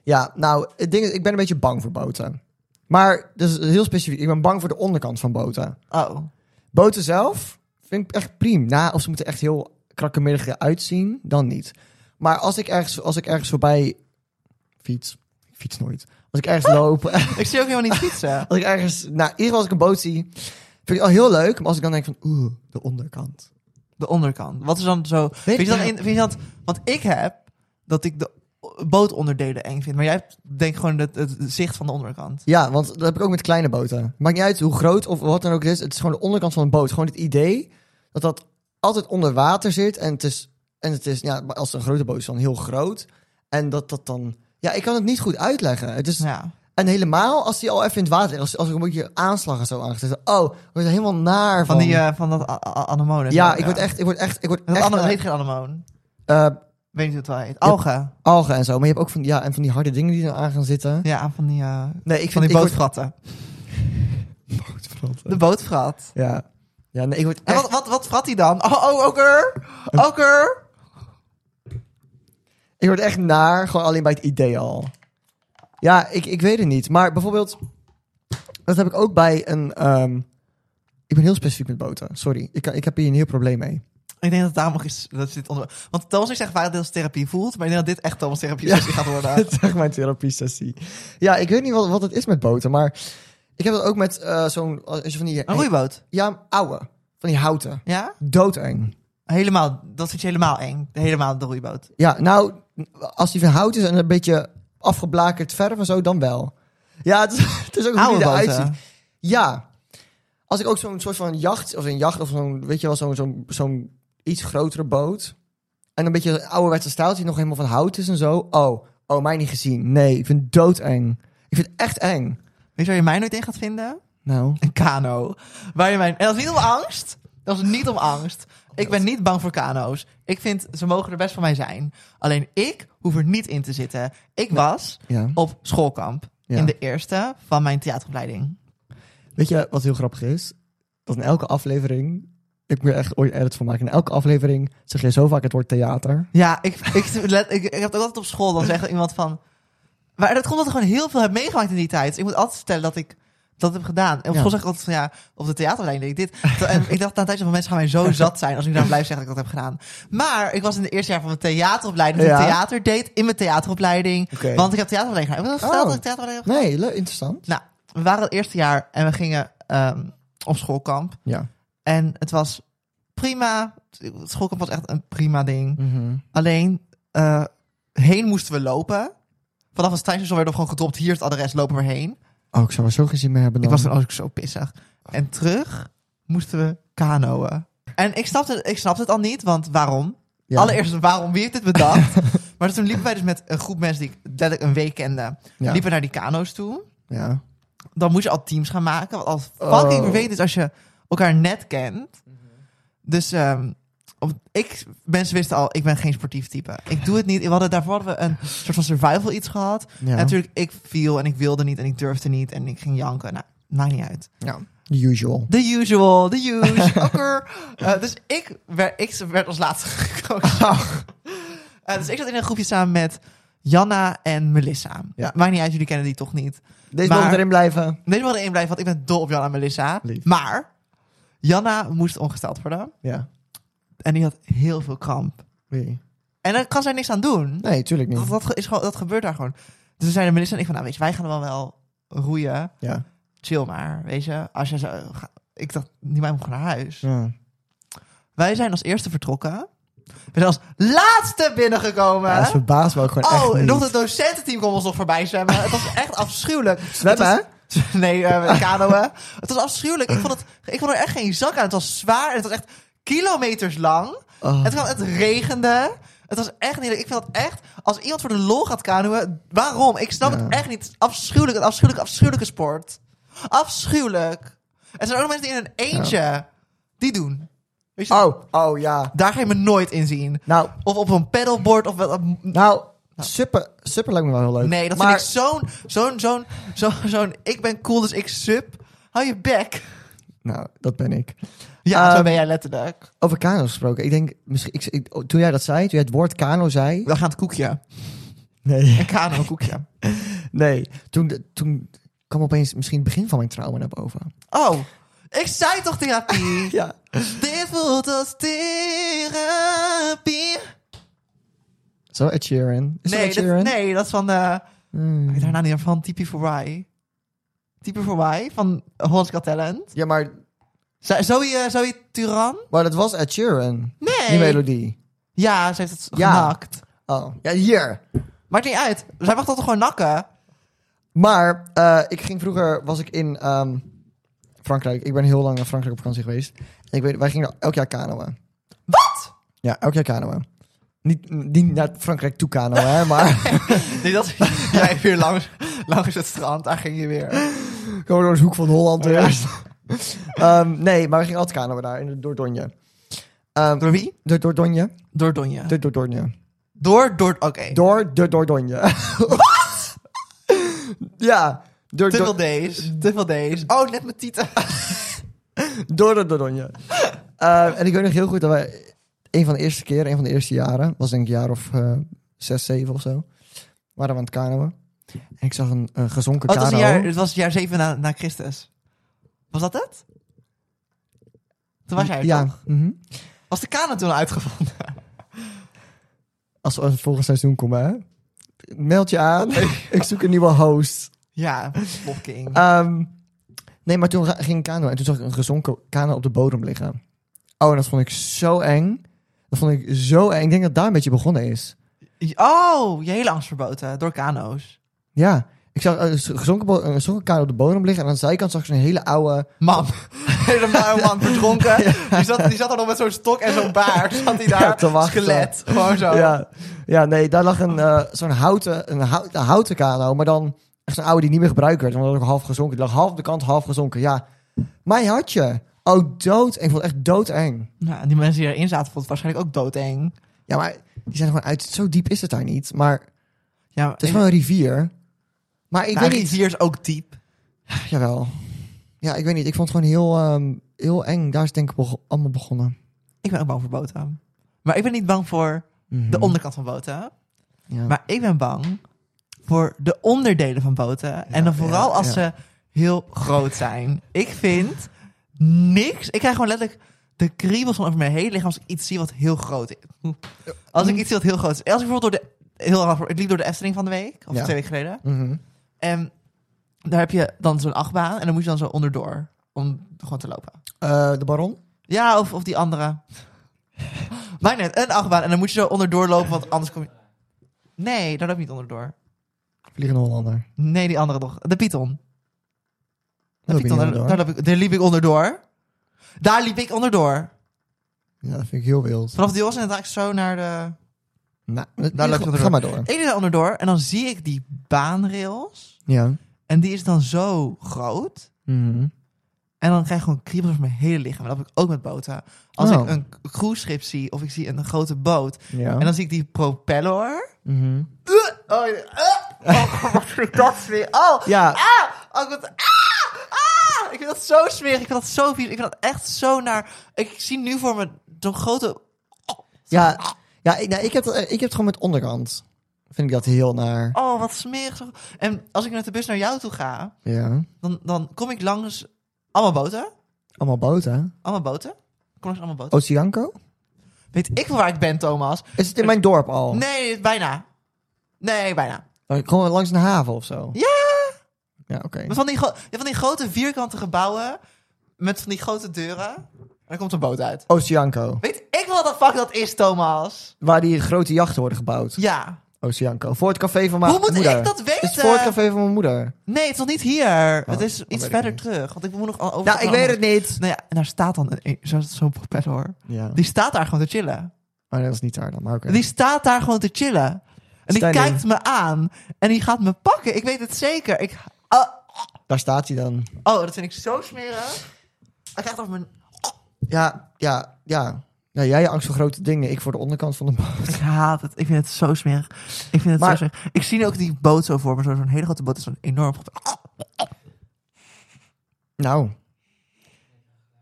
Speaker 1: Ja, nou, het ding is, ik ben een beetje bang voor boten. Maar, dat is heel specifiek, ik ben bang voor de onderkant van boten.
Speaker 2: Oh.
Speaker 1: Boten zelf vind ik echt prima. Nou, of ze moeten echt heel krakkemiddelig eruit zien, dan niet. Maar als ik ergens, als ik ergens voorbij fiets, ik fiets nooit. Als ik ergens loop...
Speaker 2: Ik zie ook helemaal niet fietsen.
Speaker 1: Als ik ergens, nou, in ieder geval als ik een boot zie, vind ik het al heel leuk. Maar als ik dan denk van, oeh, de onderkant.
Speaker 2: De onderkant. Wat is dan zo... Vind je, dan
Speaker 1: ja.
Speaker 2: in, vind je dat... Want ik heb dat ik de bootonderdelen eng vind. Maar jij hebt denk ik gewoon het, het zicht van de onderkant.
Speaker 1: Ja, want dat heb ik ook met kleine boten. Maakt niet uit hoe groot of wat dan ook het is. Het is gewoon de onderkant van een boot. Gewoon het idee dat dat altijd onder water zit. En het is, en het is ja, maar als het een grote boot is, dan heel groot. En dat dat dan... Ja, ik kan het niet goed uitleggen. Het is,
Speaker 2: Ja.
Speaker 1: En helemaal als die al even in het water ligt. Als, als er een beetje aanslag en zo aangezet. Oh, ik word er helemaal naar van.
Speaker 2: Van, die, eh, van dat a- a- anemoon. en
Speaker 1: ja,
Speaker 2: zo,
Speaker 1: ik word echt... Ik word echt... Ik word
Speaker 2: Dat
Speaker 1: echt
Speaker 2: andere
Speaker 1: eh,
Speaker 2: heet geen anemoon.
Speaker 1: eh,
Speaker 2: Weet niet hoe het wel heet. Algen.
Speaker 1: algen en zo. Maar je hebt ook van, ja, en van die harde dingen die er aan gaan zitten.
Speaker 2: Ja, van die, eh,
Speaker 1: Nee, ik
Speaker 2: van
Speaker 1: vind
Speaker 2: die bootfratten.
Speaker 1: bootfratten.
Speaker 2: De bootfrat.
Speaker 1: Ja. Ja, nee, ik word
Speaker 2: En
Speaker 1: echt...
Speaker 2: wat, wat, wat frat hij dan? Oh, oh, okker. Okker.
Speaker 1: Ik word echt naar, gewoon alleen bij het idee al. Ja, ik, ik weet het niet. Maar bijvoorbeeld, dat heb ik ook bij een... ehm, ik ben heel specifiek met boten, sorry. Ik, ik heb hier een heel probleem mee.
Speaker 2: Ik denk dat het daarom ook is dat dit onder... Want Thomas zegt vaak dat dit als therapie voelt. Maar ik denk dat dit echt Thomas therapie sessie gaat worden.
Speaker 1: zeg maar therapie sessie. Ja, ik weet niet wat, wat het is met boten, maar... Ik heb dat ook met eh, zo'n... Als je van die...
Speaker 2: Een roeiboot.
Speaker 1: ja, ouwe. Van die houten.
Speaker 2: Ja?
Speaker 1: Doodeng.
Speaker 2: Helemaal. Dat vind je helemaal eng. Helemaal de roeiboot.
Speaker 1: Ja, nou, als die van hout is en een beetje afgeblakerd verf en zo, dan wel. Ja, het, is- het is ook hoe
Speaker 2: Oude
Speaker 1: die eruit
Speaker 2: boten.
Speaker 1: ziet. Ja. Als ik ook zo'n soort van jacht, of een jacht, of zo'n, weet je wel, zo'n zo'n zo'n iets grotere boot. En een beetje een ouderwetse staal die nog helemaal van hout is en zo. Oh, oh, mij niet gezien. Nee, ik vind het doodeng. Ik vind het echt eng.
Speaker 2: Weet je waar je mij nooit in gaat vinden?
Speaker 1: Nou,
Speaker 2: Een kano. Waar je mij... En dat is niet om angst. Dat is niet om angst. Ik ben niet bang voor kano's. Ik vind, ze mogen er best van mij zijn. Alleen ik hoef er niet in te zitten. Ik was
Speaker 1: ja.
Speaker 2: op schoolkamp.
Speaker 1: Ja.
Speaker 2: In de eerste van mijn theateropleiding.
Speaker 1: Weet je wat heel grappig is? Dat in elke aflevering, ik moet er echt ooit edit van maken. In elke aflevering zeg je zo vaak het woord theater.
Speaker 2: Ja, ik, ik, let- ik, ik heb het ook altijd op school. Dan zegt iemand van... Maar dat komt omdat ik gewoon heel veel heb meegemaakt in die tijd. Dus ik moet altijd vertellen dat ik dat heb gedaan. En op
Speaker 1: Ja.
Speaker 2: school zeg ik altijd van ja, op de theaterlijn deed ik dit. En ik dacht na een tijdje van mensen gaan mij zo zat zijn als ik daar blijf zeggen dat ik dat heb gedaan. Maar ik was in het eerste jaar van mijn theateropleiding.
Speaker 1: Ja.
Speaker 2: Een theater deed in mijn theateropleiding.
Speaker 1: Oké.
Speaker 2: Want ik heb theateropleiding gedaan. Ik heb wel verteld
Speaker 1: Oh.
Speaker 2: dat ik theateropleiding heb
Speaker 1: Nee, leuk, interessant.
Speaker 2: gedaan. Nou, we waren het eerste jaar en we gingen ehm, op schoolkamp.
Speaker 1: Ja.
Speaker 2: En het was prima. Schokken was echt een prima ding. Alleen, eh, heen moesten we lopen. Vanaf het treinstation werden we gewoon gedropt. Hier is het adres, lopen we heen.
Speaker 1: Oh, ik zou er zo geen zin meer hebben
Speaker 2: Ik
Speaker 1: dan.
Speaker 2: was toen ook zo pissig. En terug moesten we kanoën. En ik snapte, ik snapte het al niet, want waarom?
Speaker 1: Ja.
Speaker 2: Allereerst, waarom wie heeft dit bedacht? maar toen liepen wij dus met een groep mensen die ik letterlijk een week kende.
Speaker 1: Ja.
Speaker 2: Liepen we naar die kano's toe.
Speaker 1: Ja.
Speaker 2: Dan moet je al teams gaan maken. Wat al fucking
Speaker 1: Oh.
Speaker 2: vervelend is als je elkaar net kent. Dus ehm, op, ik, mensen wisten al, ik ben geen sportief type. Ik doe het niet. We hadden, daarvoor hadden we een soort van survival iets gehad.
Speaker 1: Ja.
Speaker 2: En natuurlijk, ik viel en ik wilde niet en ik durfde niet. En ik ging janken. Nou, maakt niet uit.
Speaker 1: ja. The usual.
Speaker 2: The usual, the usual. okker. Eh, dus ik werd, ik werd als laatste gekozen.
Speaker 1: Oh.
Speaker 2: Eh, dus ik zat in een groepje samen met Janna en Melissa.
Speaker 1: Ja.
Speaker 2: Maakt niet uit, jullie kennen die toch niet.
Speaker 1: Deze
Speaker 2: Maar-
Speaker 1: moet erin blijven.
Speaker 2: Nee, we hadden één blijven, want ik ben dol op Janna en Melissa.
Speaker 1: Lief.
Speaker 2: Maar Janna moest ongesteld worden.
Speaker 1: Ja.
Speaker 2: En die had heel veel kramp.
Speaker 1: Nee.
Speaker 2: En daar kan zij niks aan doen.
Speaker 1: Nee, tuurlijk niet.
Speaker 2: Dat, dat, ge- is gewoon, dat gebeurt daar gewoon. Dus we zeiden Melissa en ik van, nou weet je, wij gaan wel wel roeien.
Speaker 1: Ja.
Speaker 2: Chill maar, weet je. Als je zo... Ik dacht, die meid moet gewoon naar huis.
Speaker 1: ja.
Speaker 2: Wij zijn als eerste vertrokken. We zijn als laatste binnengekomen.
Speaker 1: Ja, dat verbaast me ook gewoon echt
Speaker 2: oh,
Speaker 1: niet.
Speaker 2: nog het docententeam kwam ons nog voorbij zwemmen. het was echt afschuwelijk.
Speaker 1: Zwemmen,
Speaker 2: Het was- Nee, eh kanoën. Het was afschuwelijk. Ik vond, het, ik vond er echt geen zak aan. Het was zwaar en het was echt kilometers lang.
Speaker 1: Oh.
Speaker 2: Het, kwam, het regende. Het was echt niet leuk. Ik vind dat echt... Als iemand voor de lol gaat kanoën, waarom? Ik snap
Speaker 1: Ja.
Speaker 2: het echt niet. Het is Afschuwelijk, een afschuwelijke, afschuwelijke sport. Afschuwelijk. Er zijn ook nog mensen die in een eentje die doen. Weet je,
Speaker 1: Oh, oh ja.
Speaker 2: daar ga je me nooit in zien.
Speaker 1: Nou,
Speaker 2: Of op een paddleboard of wat.
Speaker 1: nou, super, super lijkt me wel heel leuk.
Speaker 2: Nee, dat
Speaker 1: maar,
Speaker 2: vind ik zo'n, zo'n, zo'n, zo'n, zo'n, ik ben cool, dus ik sub. Hou je bek.
Speaker 1: Nou, dat ben ik.
Speaker 2: Ja,
Speaker 1: Ehm,
Speaker 2: zo ben jij letterlijk.
Speaker 1: Over kano's gesproken. Ik denk, misschien, ik, ik- oh, toen jij dat zei, toen jij het woord kano zei.
Speaker 2: We gaan het koekje.
Speaker 1: Nee.
Speaker 2: nou Een kano koekje.
Speaker 1: Nee, toen, toen kwam opeens misschien het begin van mijn trauma naar boven.
Speaker 2: Oh, ik zei toch therapie?
Speaker 1: Ja.
Speaker 2: Dit voelt als therapie.
Speaker 1: Zo, Ed Sheeran. Is
Speaker 2: Nee,
Speaker 1: dat Ed
Speaker 2: dat,
Speaker 1: Sheeran?
Speaker 2: nee, dat is van, eh
Speaker 1: Hmm.
Speaker 2: ik weet haar naam niet meer, van Typie for Why. Typie for Why, van Holland's Got Talent.
Speaker 1: Ja, maar,
Speaker 2: Z- Zoe, eh, Zoe Turan?
Speaker 1: maar dat was Ed Sheeran.
Speaker 2: Nee.
Speaker 1: Die melodie.
Speaker 2: Ja, ze heeft het
Speaker 1: Ja.
Speaker 2: genakt.
Speaker 1: Oh, ja, hier.
Speaker 2: Maakt niet uit. Zij mag dat toch gewoon nakken?
Speaker 1: Maar eh, ik ging vroeger, was ik in ehm, Frankrijk. Ik ben heel lang naar Frankrijk op vakantie geweest. En ik weet, wij gingen daar elk jaar kanoën.
Speaker 2: Wat?
Speaker 1: Ja, elk jaar kanoën. Niet, niet naar Frankrijk toe kanoën, hè, maar
Speaker 2: Nee, dat... Jij weer langs, langs het strand, daar ging je weer.
Speaker 1: gewoon door de hoek van Holland eerst. Ehm, nee, maar we gingen altijd kanoën daar, in de Dordogne. Ehm,
Speaker 2: Door wie?
Speaker 1: de Dordogne?
Speaker 2: Door Donja.
Speaker 1: De Dordogne.
Speaker 2: Door, door, oké.
Speaker 1: Door de Dordogne. ja, door,
Speaker 2: Te veel
Speaker 1: door,
Speaker 2: D's. Te veel D's. Oh, net mijn tieten.
Speaker 1: Door de Dordogne. Eh, en ik weet nog heel goed dat wij... Een van de eerste keren, een van de eerste jaren... was denk ik een jaar of eh, zes, zeven of zo... waren we aan het kanoën. En ik zag een, een gezonken
Speaker 2: Oh, het, was
Speaker 1: kano.
Speaker 2: een jaar, het was het jaar 7 na, na Christus. Was dat het? Toen was jij het,
Speaker 1: Ja.
Speaker 2: toch?
Speaker 1: mhm.
Speaker 2: Was de kano toen uitgevonden?
Speaker 1: Als we volgend seizoen komen, hè? Meld je aan. ik zoek een nieuwe host.
Speaker 2: Ja, Slotking.
Speaker 1: Ehm, nee, maar toen ra- ging ik kanoën. En toen zag ik een gezonken kano op de bodem liggen. Oh, en dat vond ik zo eng. Dat vond ik zo eng. Ik denk dat daar een beetje begonnen is.
Speaker 2: Oh, je hele angst verboten door kano's.
Speaker 1: Ja, ik zag een gezonken, bo- een gezonken kano op de bodem liggen. En aan de zijkant zag ik zo'n hele oude...
Speaker 2: Man, helemaal man verdronken. Die, zat, die zat er nog met zo'n stok en zo'n baard. Zat hij daar,
Speaker 1: Ja, te wachten.
Speaker 2: skelet. Gewoon zo.
Speaker 1: Ja, ja, nee, daar lag een, eh, zo'n houten, een hout- een houten kano. Maar dan echt zo'n oude die niet meer gebruikt werd. Want dat was ook half gezonken. Die lag half op de kant, half gezonken. Ja, mijn hartje. Oh, dood. Ik vond het echt doodeng.
Speaker 2: Nou, die mensen die erin zaten vonden het waarschijnlijk ook doodeng.
Speaker 1: Ja, maar die zijn er gewoon uit. Zo diep is het daar niet. Maar
Speaker 2: Ja,
Speaker 1: het is gewoon een rivier. Maar ik weet niet.
Speaker 2: hier is ook diep.
Speaker 1: Jawel. Ja, ik weet niet. Ik vond het gewoon heel, ehm, heel eng. Daar is het denk ik bego- allemaal begonnen.
Speaker 2: Ik ben ook bang voor boten. Maar ik ben niet bang voor de
Speaker 1: Hmm.
Speaker 2: onderkant van boten.
Speaker 1: Mhm. Ja.
Speaker 2: Maar ik ben bang voor de onderdelen van boten. en dan vooral
Speaker 1: ja,
Speaker 2: als
Speaker 1: ja.
Speaker 2: ze heel groot zijn. Ik vind niks. Ik krijg gewoon letterlijk de kriebels van over mijn hele lichaam als ik iets zie wat heel groot is. Als ik iets zie wat heel groot is. Als ik bijvoorbeeld door de... Heel raar, ik liep door de Efteling van de week. Of
Speaker 1: Ja.
Speaker 2: twee weken geleden.
Speaker 1: Mhm.
Speaker 2: En daar heb je dan zo'n achtbaan. En dan moet je dan zo onderdoor. Om gewoon te lopen.
Speaker 1: Eh, de baron?
Speaker 2: Ja, of, of die andere. Maakt net een achtbaan. En dan moet je zo onderdoor lopen, want anders kom je... Nee, daar loop ik niet onderdoor.
Speaker 1: Vliegende Hollander.
Speaker 2: Nee, die andere toch. De Python. De
Speaker 1: Daar loop je
Speaker 2: Python,
Speaker 1: niet
Speaker 2: daar,
Speaker 1: onderdoor.
Speaker 2: daar liep ik, daar liep ik onderdoor. Daar liep ik onderdoor.
Speaker 1: Ja, dat vind ik heel wild.
Speaker 2: Vanaf de Os en dan ik zo naar de...
Speaker 1: Nou,
Speaker 2: Daar loop je
Speaker 1: ga,
Speaker 2: onderdoor.
Speaker 1: ga maar door.
Speaker 2: Ik liep daar onderdoor en dan zie ik die baanrails.
Speaker 1: Ja.
Speaker 2: En die is dan zo groot.
Speaker 1: Mhm.
Speaker 2: En dan krijg ik gewoon kriebels over mijn hele lichaam. Dat heb ik ook met boten. Als
Speaker 1: Oh.
Speaker 2: ik een cruiseschip zie of ik zie een grote boot.
Speaker 1: Ja.
Speaker 2: En dan zie ik die propeller.
Speaker 1: Mhm.
Speaker 2: Oh, eh, oh wat vind ik dat smerig. Oh,
Speaker 1: Ja.
Speaker 2: ah, oh, ik word- ah, ah. Ik vind dat zo smerig. Ik vind dat zo vies. Ik vind dat echt zo naar... Ik zie nu voor me zo'n grote...
Speaker 1: Ja, ja ik, nou, ik, heb, dat- eh, ik heb het gewoon met onderkant. Vind ik dat heel naar.
Speaker 2: Oh, wat smerig. zo- En als ik met de bus naar jou toe ga,
Speaker 1: Ja.
Speaker 2: dan, dan kom ik langs allemaal boten.
Speaker 1: Allemaal boten.
Speaker 2: Allemaal boten. Ik Kom langs allemaal boten.
Speaker 1: Oceanco? Oh.
Speaker 2: Weet ik wel waar ik ben, Thomas?
Speaker 1: Is het in mijn dorp al?
Speaker 2: Nee, bijna. Nee, bijna.
Speaker 1: Eh, Gewoon langs een haven of zo?
Speaker 2: Ja!
Speaker 1: Ja, oké.
Speaker 2: Maar Van die, gro- ja, van die grote vierkante gebouwen met van die grote deuren. En dan komt een boot uit.
Speaker 1: Oceanco.
Speaker 2: Weet ik wel wat de fuck dat is, Thomas?
Speaker 1: Waar die grote jachten worden gebouwd.
Speaker 2: Ja.
Speaker 1: Oceanco. Voor het café van mijn
Speaker 2: Hoe moet
Speaker 1: moeder.
Speaker 2: ik dat weten?
Speaker 1: Is het voor het café van mijn moeder?
Speaker 2: Nee, het is nog niet hier. het is
Speaker 1: weet
Speaker 2: iets
Speaker 1: ik
Speaker 2: verder
Speaker 1: niet.
Speaker 2: terug. Want Oh, ik moet nog al over...
Speaker 1: Nou, ik weet het niet.
Speaker 2: Nou ja, en daar staat dan een- zo- zo'n propeller.
Speaker 1: Ja.
Speaker 2: Die staat daar gewoon te chillen.
Speaker 1: Maar dat is niet daar dan. Maar oké.
Speaker 2: Die staat daar gewoon te chillen. En die
Speaker 1: Stijn in.
Speaker 2: kijkt me aan. En die gaat me pakken. Ik weet het zeker. Ik... Oh,
Speaker 1: Daar staat hij dan.
Speaker 2: oh, dat vind ik zo smerig. Hij krijgt over mijn...
Speaker 1: Ja, ja, ja. Nou, jij je angst voor grote dingen. Ik voor de onderkant van de boot.
Speaker 2: Ik haat het. Ik vind het zo smerig. Ik vind het zo
Speaker 1: Maar-
Speaker 2: smerig. Ik zie nu ook die boot zo voor me. zo- Zo'n hele grote boot. Zo'n enorm grote...
Speaker 1: Nou.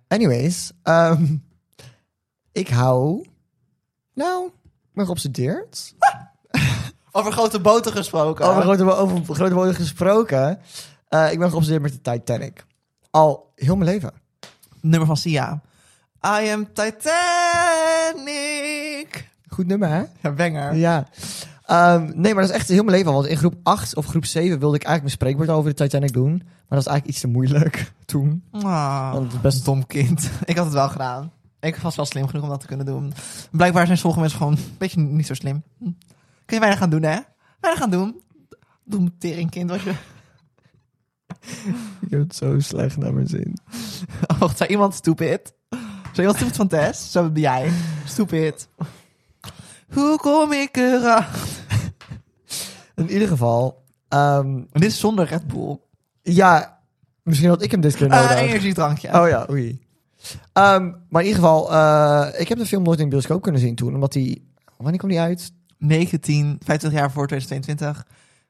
Speaker 1: Anyways. ehm, ik hou... Nou, maar geobsedeerd.
Speaker 2: Over grote boten gesproken.
Speaker 1: Over grote, bo- over grote boten gesproken. Eh, ik ben geobsedeerd met de Titanic. Al heel mijn leven.
Speaker 2: Nummer van Sia. I am Titanic.
Speaker 1: Goed nummer, hè?
Speaker 2: Ja, banger.
Speaker 1: Ja. Ehm, nee, maar dat is echt heel mijn leven. al, Want in groep 8 of groep 7 wilde ik eigenlijk mijn spreekwoord over de Titanic doen. Maar dat was eigenlijk iets te moeilijk toen.
Speaker 2: Ah,
Speaker 1: Want het is best
Speaker 2: dom kind. Ik had het wel gedaan. Ik was wel slim genoeg om dat te kunnen doen. Blijkbaar zijn sommige mensen gewoon een beetje niet zo slim. Hm. Kun je weinig gaan doen, hè? Weinig gaan doen. Doe teringkind was je.
Speaker 1: Ik heb het zo slecht naar mijn zin.
Speaker 2: Oh, zei iemand stupid? Zei iemand stupid van Tess? Zo ben jij. Stupid. Hoe kom ik eraan?
Speaker 1: In ieder geval, ehm,
Speaker 2: Dit is zonder Red Bull.
Speaker 1: ja, misschien had ik hem dit keer
Speaker 2: Ah,
Speaker 1: nodig.
Speaker 2: energiedrankje.
Speaker 1: Oh ja, oei. Ehm, maar in ieder geval, eh, ik heb de film nooit in de bioscoop kunnen zien toen. Omdat die, wanneer kwam die uit?
Speaker 2: 19, 25 jaar voor 2022.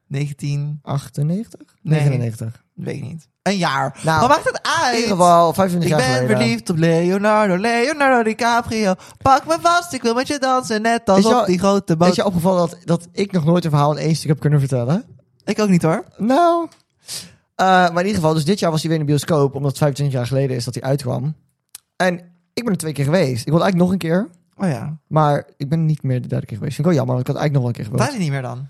Speaker 2: 19,
Speaker 1: 98?
Speaker 2: Nee.
Speaker 1: 99.
Speaker 2: weet ik niet. Een jaar.
Speaker 1: Nou,
Speaker 2: maar maakt het
Speaker 1: In
Speaker 2: uit?
Speaker 1: ieder geval, 25
Speaker 2: Ik
Speaker 1: jaar
Speaker 2: ben
Speaker 1: geleden.
Speaker 2: verliefd op Leonardo, Leonardo DiCaprio. Pak me vast, ik wil met je dansen, net als
Speaker 1: Is
Speaker 2: op
Speaker 1: jou-
Speaker 2: die grote boot.
Speaker 1: Is je opgevallen dat, dat ik nog nooit een verhaal in één stuk heb kunnen vertellen?
Speaker 2: Ik ook niet hoor.
Speaker 1: Nou. Eh, maar in ieder geval, dus dit jaar was hij weer in de bioscoop. Omdat het 25 jaar geleden is dat hij uitkwam. En ik ben er twee keer geweest. Ik wilde eigenlijk nog een keer.
Speaker 2: Oh ja,
Speaker 1: Maar ik ben niet meer de derde keer geweest. Vind ik wel jammer, want ik had eigenlijk nog wel een keer
Speaker 2: waar is hij
Speaker 1: gewild.
Speaker 2: niet meer dan?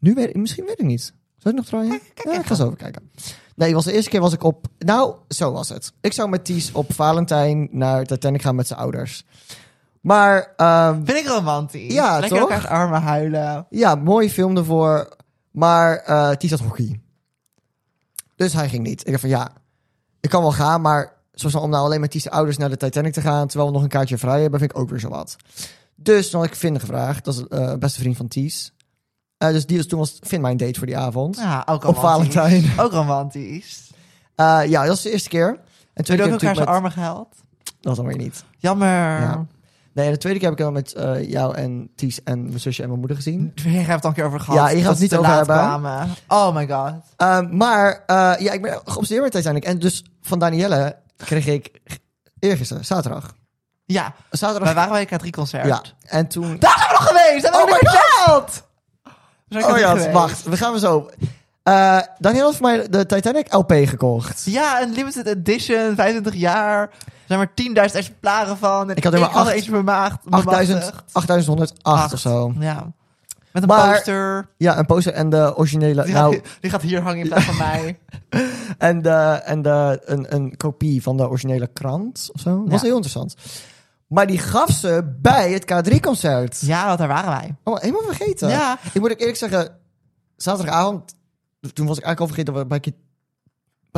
Speaker 1: Nu weet ik, misschien weet ik niet. Zou ik nog trouwen?
Speaker 2: kijk
Speaker 1: ja, ik
Speaker 2: even.
Speaker 1: ga zo even kijken. Nee, was de eerste keer was ik op... Nou, zo was het. Ik zou met Ties op Valentijn naar Titanic gaan met zijn ouders. Maar ehm,
Speaker 2: Vind ik romantisch.
Speaker 1: Ja,
Speaker 2: Lekker
Speaker 1: toch?
Speaker 2: elkaars armen huilen.
Speaker 1: Ja, mooie film ervoor. Maar eh Ties had hockey. Dus hij ging niet. Ik dacht van ja, ik kan wel gaan, maar zoals om nou alleen met Ties' ouders naar de Titanic te gaan, terwijl we nog een kaartje vrij hebben, vind ik ook weer zo wat. Dus dan had ik Finn gevraagd, dat is eh, een beste vriend van Ties. Eh, dus die was, toen was Finn mijn date voor die avond.
Speaker 2: Ja, ook
Speaker 1: Op
Speaker 2: romantisch.
Speaker 1: Valentijn.
Speaker 2: Ook romantisch.
Speaker 1: Eh, ja, dat was de eerste keer. En de
Speaker 2: Toen
Speaker 1: tweede
Speaker 2: ook elkaar
Speaker 1: keer natuurlijk
Speaker 2: zijn
Speaker 1: met...
Speaker 2: armen gehaald.
Speaker 1: Dat dan weer niet.
Speaker 2: Jammer.
Speaker 1: Ja. Nee, en de tweede keer heb ik dan met eh, jou en Ties en mijn zusje en mijn moeder gezien.
Speaker 2: Je hebt het al een keer over gehad.
Speaker 1: Ja, hier gaat
Speaker 2: dat
Speaker 1: het
Speaker 2: ze
Speaker 1: niet
Speaker 2: te laat
Speaker 1: over hebben.
Speaker 2: kwamen. Oh my god.
Speaker 1: Ehm, maar eh, ja, ik ben geobsedeerd met Titanic. En dus van Danielle kreeg ik g- eergisteren, zaterdag.
Speaker 2: Ja, wij
Speaker 1: Zaterdag.
Speaker 2: waren bij een K3 concert.
Speaker 1: ja. En toen.
Speaker 2: Daar zijn we nog geweest! Daar
Speaker 1: Oh
Speaker 2: hebben we nog verteld! We zijn
Speaker 1: Oh
Speaker 2: K3
Speaker 1: ja,
Speaker 2: geweest.
Speaker 1: wacht. We gaan we zo. Eh Danielle had voor mij de Titanic LP gekocht.
Speaker 2: Ja, een limited edition, 25 jaar. Er zijn maar 10.000 exemplaren van. En
Speaker 1: Ik had er maar
Speaker 2: had
Speaker 1: acht-
Speaker 2: eentje bemaagd.
Speaker 1: 8000
Speaker 2: bemachtigd.
Speaker 1: 8108 of zo.
Speaker 2: Ja. Met een
Speaker 1: Maar-
Speaker 2: poster.
Speaker 1: Ja, een poster en de originele.
Speaker 2: Die,
Speaker 1: nou,
Speaker 2: gaat, die gaat hier hangen in plaats van mij.
Speaker 1: en de, en de, een, een kopie van de originele krant of zo. Was
Speaker 2: Ja.
Speaker 1: heel interessant. Maar die gaf ze bij het K3-concert.
Speaker 2: Ja, want daar waren wij.
Speaker 1: Oh, helemaal vergeten.
Speaker 2: Ja.
Speaker 1: Ik moet ook eerlijk zeggen, zaterdagavond, toen was ik eigenlijk al vergeten dat we bij, K-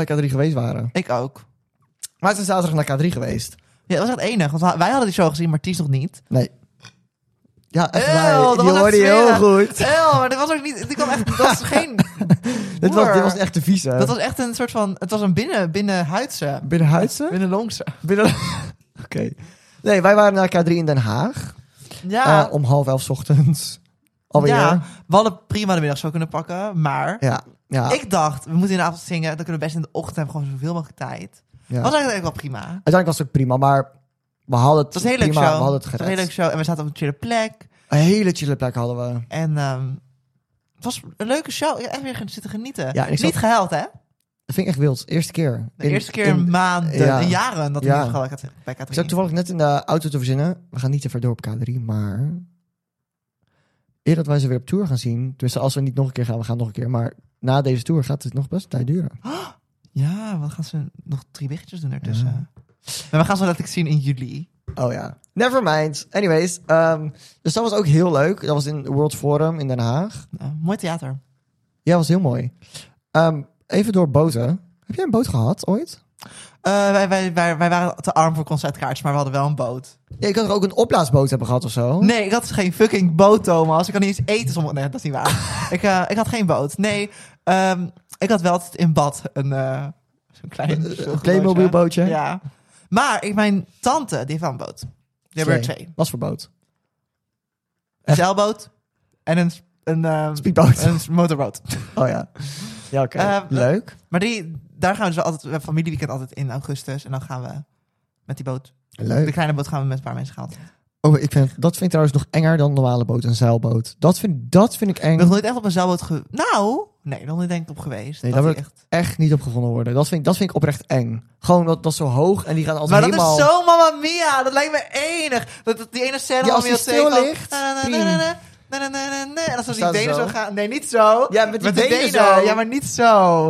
Speaker 1: bij K3 geweest waren.
Speaker 2: Ik ook.
Speaker 1: Maar we zijn zaterdag naar K3 geweest.
Speaker 2: Ja, dat was echt enig. Want wij hadden die show gezien, maar Ties nog niet.
Speaker 1: Nee. Ja, echt
Speaker 2: Ew,
Speaker 1: waar.
Speaker 2: dat
Speaker 1: Die
Speaker 2: was echt
Speaker 1: hoorde je heel
Speaker 2: smerig.
Speaker 1: goed.
Speaker 2: Oh, maar dat was ook niet... Dit kwam echt... Dat was geen...
Speaker 1: Dit was, dit was echt de vieze.
Speaker 2: Dat was echt een soort van... Het was een binnen, binnenhuidse.
Speaker 1: Binnenhuidse?
Speaker 2: Binnenlongse.
Speaker 1: Binnen... Oké. Nee, wij waren naar K3 in Den Haag.
Speaker 2: Ja.
Speaker 1: eh, om half elf 's ochtends. Alweer.
Speaker 2: ja.
Speaker 1: Ja.
Speaker 2: We hadden prima de middag zo kunnen pakken, maar...
Speaker 1: Ja. ja.
Speaker 2: Ik dacht, we moeten in de avond zingen. Dan kunnen we best in de ochtend hebben. Gewoon zoveel mogelijk tijd. Dat was eigenlijk wel prima.
Speaker 1: Uiteindelijk was het ook prima, maar we hadden het
Speaker 2: Het was een hele leuke
Speaker 1: prima.
Speaker 2: show.
Speaker 1: We hadden het
Speaker 2: was
Speaker 1: gered.
Speaker 2: een hele leuke show. En we zaten op een chille plek.
Speaker 1: Een hele chille plek hadden we.
Speaker 2: En ehm, het was een leuke show. Ik heb echt weer zitten genieten.
Speaker 1: Ja, en ik zat-
Speaker 2: Niet gehuild, hè?
Speaker 1: Dat vind ik echt wild. Eerste keer.
Speaker 2: De
Speaker 1: In-
Speaker 2: eerste keer
Speaker 1: in-
Speaker 2: in maanden,
Speaker 1: ja.
Speaker 2: in jaren dat ik
Speaker 1: Ja.
Speaker 2: niet gehuild had bij
Speaker 1: Ik zat
Speaker 2: Katrien.
Speaker 1: toevallig net in de auto te verzinnen. We gaan niet te ver door op K3, maar... Eer dat wij ze weer op tour gaan zien. Dus als we niet nog een keer gaan, we gaan nog een keer. Maar na deze tour gaat het nog best een tijd duren.
Speaker 2: Ja, wat gaan ze nog drie weggetjes doen ertussen? Maar we gaan ze laten zien in juli.
Speaker 1: Oh ja. Never mind. Anyways. ehm, dus dat was ook heel leuk. Dat was in World Forum in Den Haag.
Speaker 2: Nou, mooi theater.
Speaker 1: Ja, was heel mooi. Ehm, even door boten. Heb jij een boot gehad ooit?
Speaker 2: Eh, wij, wij, wij, wij waren te arm voor concertkaartjes, maar we hadden wel een boot.
Speaker 1: Ja, ik had toch ook een opblaasboot hebben gehad of zo?
Speaker 2: Nee, ik had dus geen fucking boot, Thomas. Ik kan niet eens eten sommige... Nee, dat is niet waar. ik, eh, ik had geen boot. Nee, ehm, ik had wel altijd in bad een eh, zo'n klein...
Speaker 1: Eh,
Speaker 2: zo'n
Speaker 1: een Playmobil bootje?
Speaker 2: Ja. Maar ik, mijn tante, die heeft wel een boot. Die hebben er twee.
Speaker 1: Was voor boot.
Speaker 2: Een zeilboot en een, s- een, ehm,
Speaker 1: Speedboot.
Speaker 2: een s- motorboot.
Speaker 1: Oh ja. Ja, oké.
Speaker 2: Eh,
Speaker 1: leuk.
Speaker 2: Maar die, daar gaan we dus wel altijd... We hebben familieweekend altijd in augustus. En dan gaan we met die boot... De
Speaker 1: Leuk.
Speaker 2: kleine boot gaan we met een paar mensen gaan.
Speaker 1: Oh, ik vind, dat vind ik trouwens nog enger dan een normale boot, een zeilboot. Dat vind, dat vind ik
Speaker 2: Ik
Speaker 1: eng.
Speaker 2: ben nog nooit echt op een zeilboot ge... Nou, nee, nog niet denk ik op geweest.
Speaker 1: Nee,
Speaker 2: dat
Speaker 1: daar
Speaker 2: die echt...
Speaker 1: Echt niet opgevonden worden. Dat vind, ik- dat vind ik oprecht eng. Gewoon dat, dat is zo hoog en die gaan altijd
Speaker 2: Maar
Speaker 1: helemaal...
Speaker 2: dat is zo Mamma Mia. Dat lijkt me enig. Dat, dat die ene scène
Speaker 1: Ja, als
Speaker 2: van Mia
Speaker 1: die stil
Speaker 2: Sego-
Speaker 1: ligt,
Speaker 2: Na, na, na,
Speaker 1: priem.
Speaker 2: na, na, na, na, na, na, na. En als dan die
Speaker 1: Staan ze
Speaker 2: benen
Speaker 1: zo?
Speaker 2: zo gaan. Nee, niet zo.
Speaker 1: Ja, met die benen zo.
Speaker 2: Ja, maar niet zo.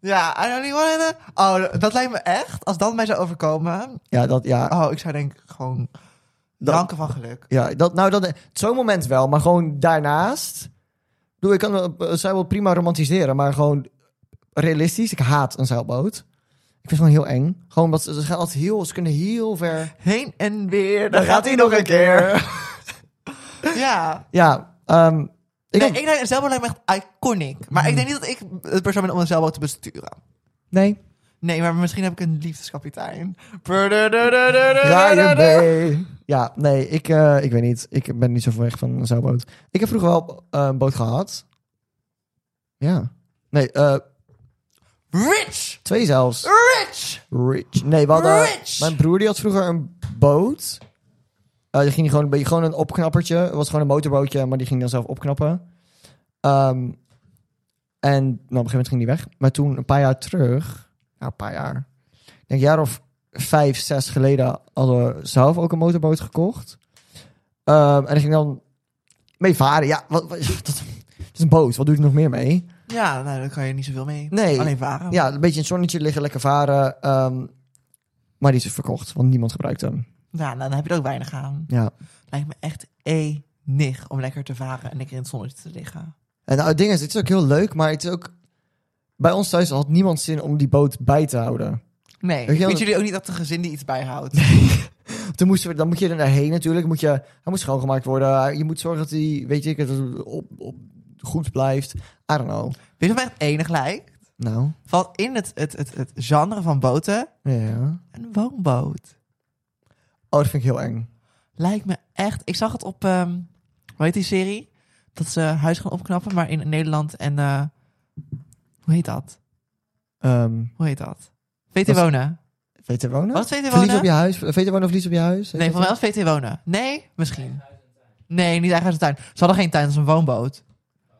Speaker 2: Ja, I don't really wanna... Oh, dat lijkt me echt. Als dat mij zou overkomen...
Speaker 1: Ja, dat, ja.
Speaker 2: Oh, ik zou denk ik gewoon...
Speaker 1: Dat-
Speaker 2: Danken van geluk.
Speaker 1: Ja, dat, nou, dat, zo'n moment wel, maar gewoon daarnaast. Doe, ik kan eh, een zeilboot prima romantiseren, maar gewoon realistisch. Ik haat een zeilboot. Ik vind het gewoon heel eng. Gewoon omdat ze, ze gaan altijd heel, ze kunnen heel ver.
Speaker 2: Heen en weer. Dan, Ja.
Speaker 1: Ja, ehm, ik
Speaker 2: Nee,
Speaker 1: had-
Speaker 2: ik denk, een zeilboot lijkt me echt iconic. Maar
Speaker 1: Hmm.
Speaker 2: ik denk niet dat ik het persoon ben om een zeilboot te besturen.
Speaker 1: nee.
Speaker 2: Nee, maar misschien heb ik een liefdeskapitein.
Speaker 1: Draai je mee. Ja, nee, ik, eh, ik weet niet. Ik ben niet zo ver weg van een zeilboot. Ik heb vroeger wel eh, een boot gehad. Ja. Nee, eh,
Speaker 2: Rich!
Speaker 1: twee zelfs.
Speaker 2: Rich!
Speaker 1: Rich. Nee, we hadden...
Speaker 2: Rich!
Speaker 1: Mijn broer die had vroeger een boot. Eh die ging gewoon, een beetje- gewoon een opknappertje. Het was gewoon een motorbootje, maar die ging dan zelf opknappen. Ehm, en nou, op een gegeven moment ging die weg. Maar toen, een paar jaar terug... Nou, een paar jaar. Ik denk een jaar of vijf, zes geleden... hadden we zelf ook een motorboot gekocht. Ehm, en daar ging dan mee varen. Ja, wat, wat- dat, het is een boot. Wat doe je er nog meer mee?
Speaker 2: Ja, nou, daar kan je niet zoveel mee.
Speaker 1: Nee.
Speaker 2: Alleen varen.
Speaker 1: Ja, een beetje in het zonnetje liggen, lekker varen. ehm, maar die is dus verkocht, want niemand gebruikt hem.
Speaker 2: Ja, nou, dan heb je er ook weinig aan.
Speaker 1: Ja.
Speaker 2: Lijkt me echt enig om lekker te varen en lekker in het zonnetje te liggen.
Speaker 1: En nou, het ding is, het is ook heel leuk, maar het is ook... Bij ons thuis had niemand zin om die boot bij te houden.
Speaker 2: Nee,
Speaker 1: Weet
Speaker 2: ik
Speaker 1: je
Speaker 2: vind
Speaker 1: wel-
Speaker 2: jullie ook niet dat de gezin die iets bijhoudt.
Speaker 1: Toen moesten we, dan moet je er naarheen natuurlijk. Moet je, hij moet schoongemaakt worden. eh, Je moet zorgen dat hij, weet je, ik, dat het op, op, goed blijft. I don't know.
Speaker 2: Weet je wat mij echt enig lijkt?
Speaker 1: Nou,
Speaker 2: Valt in het, het, het, het genre van boten
Speaker 1: ja.
Speaker 2: een woonboot.
Speaker 1: Oh, dat vind ik heel eng.
Speaker 2: Lijkt me echt... Ik zag het op, ehm hoe heet die serie? Dat ze huis gaan opknappen, maar in Nederland en... eh, hoe heet dat?
Speaker 1: Ehm
Speaker 2: Hoe heet dat? VT
Speaker 1: Dat is-
Speaker 2: Wonen.
Speaker 1: VT wonen?
Speaker 2: Was VT
Speaker 1: Verlies
Speaker 2: Wonen?
Speaker 1: op je huis? VT wonen of verlies op je huis?
Speaker 2: Nee, van mij was VT wonen. Nee, misschien. Nee, niet eigen huis en tuin. Ze hadden geen tuin, dat is een woonboot.
Speaker 1: Oh,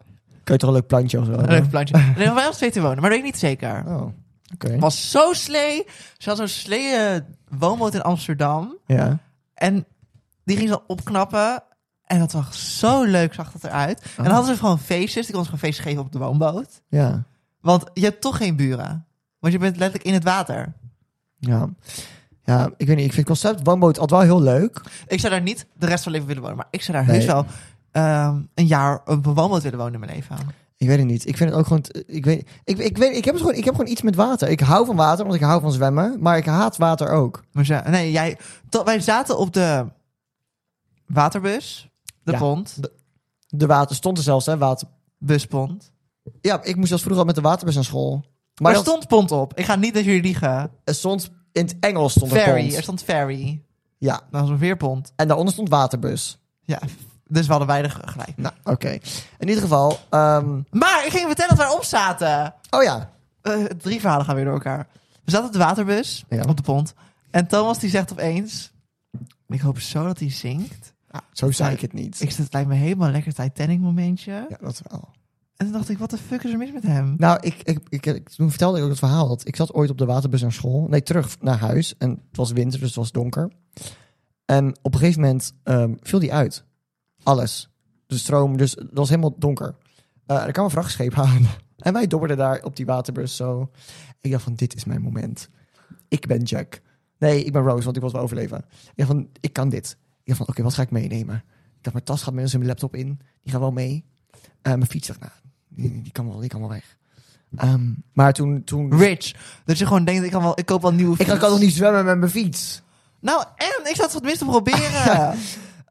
Speaker 1: Kun je toch een leuk plantje of zo?
Speaker 2: Een leuk plantje. Nee, van mij was VT wonen, maar dat weet ik niet zeker.
Speaker 1: Oh, oké.
Speaker 2: Het was zo slee. Ze had zo'n slee eh, woonboot in Amsterdam.
Speaker 1: Ja.
Speaker 2: En die ging ze dan opknappen. En dat was zo leuk, zag dat eruit.
Speaker 1: Oh.
Speaker 2: En dan hadden ze gewoon feestjes. Die konden ze gewoon feestjes geven op de woonboot.
Speaker 1: Ja.
Speaker 2: Want je hebt toch geen buren. Want je bent letterlijk in het water.
Speaker 1: Ja. ja, ik weet niet. Ik vind het concept woonboot altijd wel heel leuk.
Speaker 2: Ik zou daar niet de rest van mijn leven willen wonen. Maar ik zou daar
Speaker 1: Nee.
Speaker 2: heus wel ehm, een jaar op een woonboot willen wonen in mijn leven.
Speaker 1: Ik weet het niet. Ik vind het ook gewoon... t- Ik, weet, ik, ik, weet, ik, heb het gewoon, ik heb gewoon iets met water. Ik hou van water, want ik hou van zwemmen. Maar ik haat water ook.
Speaker 2: Maar ze- nee, jij, tot, wij zaten op de waterbus. De
Speaker 1: Ja.
Speaker 2: pond.
Speaker 1: De water stond er zelfs, hè. Water.
Speaker 2: Buspond.
Speaker 1: Ja, ik moest als vroeger al met de waterbus naar school.
Speaker 2: Maar
Speaker 1: Maar,
Speaker 2: er
Speaker 1: dat-
Speaker 2: stond pond op. Ik ga niet dat jullie liegen.
Speaker 1: er stond... In het Engels stond er
Speaker 2: Ferry. Er
Speaker 1: pond.
Speaker 2: stond ferry.
Speaker 1: Ja,
Speaker 2: Dat was een veerpond.
Speaker 1: en daaronder stond waterbus.
Speaker 2: Ja, dus we hadden weinig gelijk.
Speaker 1: Nou, oké. In ieder geval... ehm,
Speaker 2: Maar ik ging vertellen dat wij op zaten.
Speaker 1: oh ja.
Speaker 2: Eh, drie verhalen gaan weer door elkaar. We zaten op de waterbus,
Speaker 1: Ja.
Speaker 2: op de pont. En Thomas die zegt opeens... Ik hoop zo dat hij zingt.
Speaker 1: Nou, zo zei ik het niet.
Speaker 2: Ik zit, het lijkt me helemaal een lekker Titanic momentje.
Speaker 1: Ja, dat wel.
Speaker 2: En toen dacht ik, wat de fuck is er mis met hem?
Speaker 1: Nou, ik, ik, ik, ik- toen vertelde ik ook het verhaal dat ik zat ooit op de waterbus naar school. Nee, terug naar huis. En het was winter, dus het was donker. En op een gegeven moment ehm, viel die uit. Alles. De stroom, dus het was helemaal donker. Eh, er kwam een vrachtscheep aan. En wij dobberden daar op die waterbus zo. Ik dacht van, dit is mijn moment. Ik ben Jack. Nee, ik ben Rose, want ik was wel overleven. Ik dacht van, ik kan dit. Ik dacht van, oké, wat ga ik meenemen? Ik dacht, mijn tas gaat minstens in mijn laptop in. Die gaat wel mee. Eh, mijn fiets, dacht ik, nou, die, die kan wel, die kan wel weg. Ehm, maar toen... toen
Speaker 2: Rich. Dus je gewoon denkt, ik, kan wel, ik koop wel een nieuwe
Speaker 1: ik kan
Speaker 2: fiets.
Speaker 1: toch niet zwemmen met mijn fiets?
Speaker 2: Nou, en ik zou het tenminste proberen.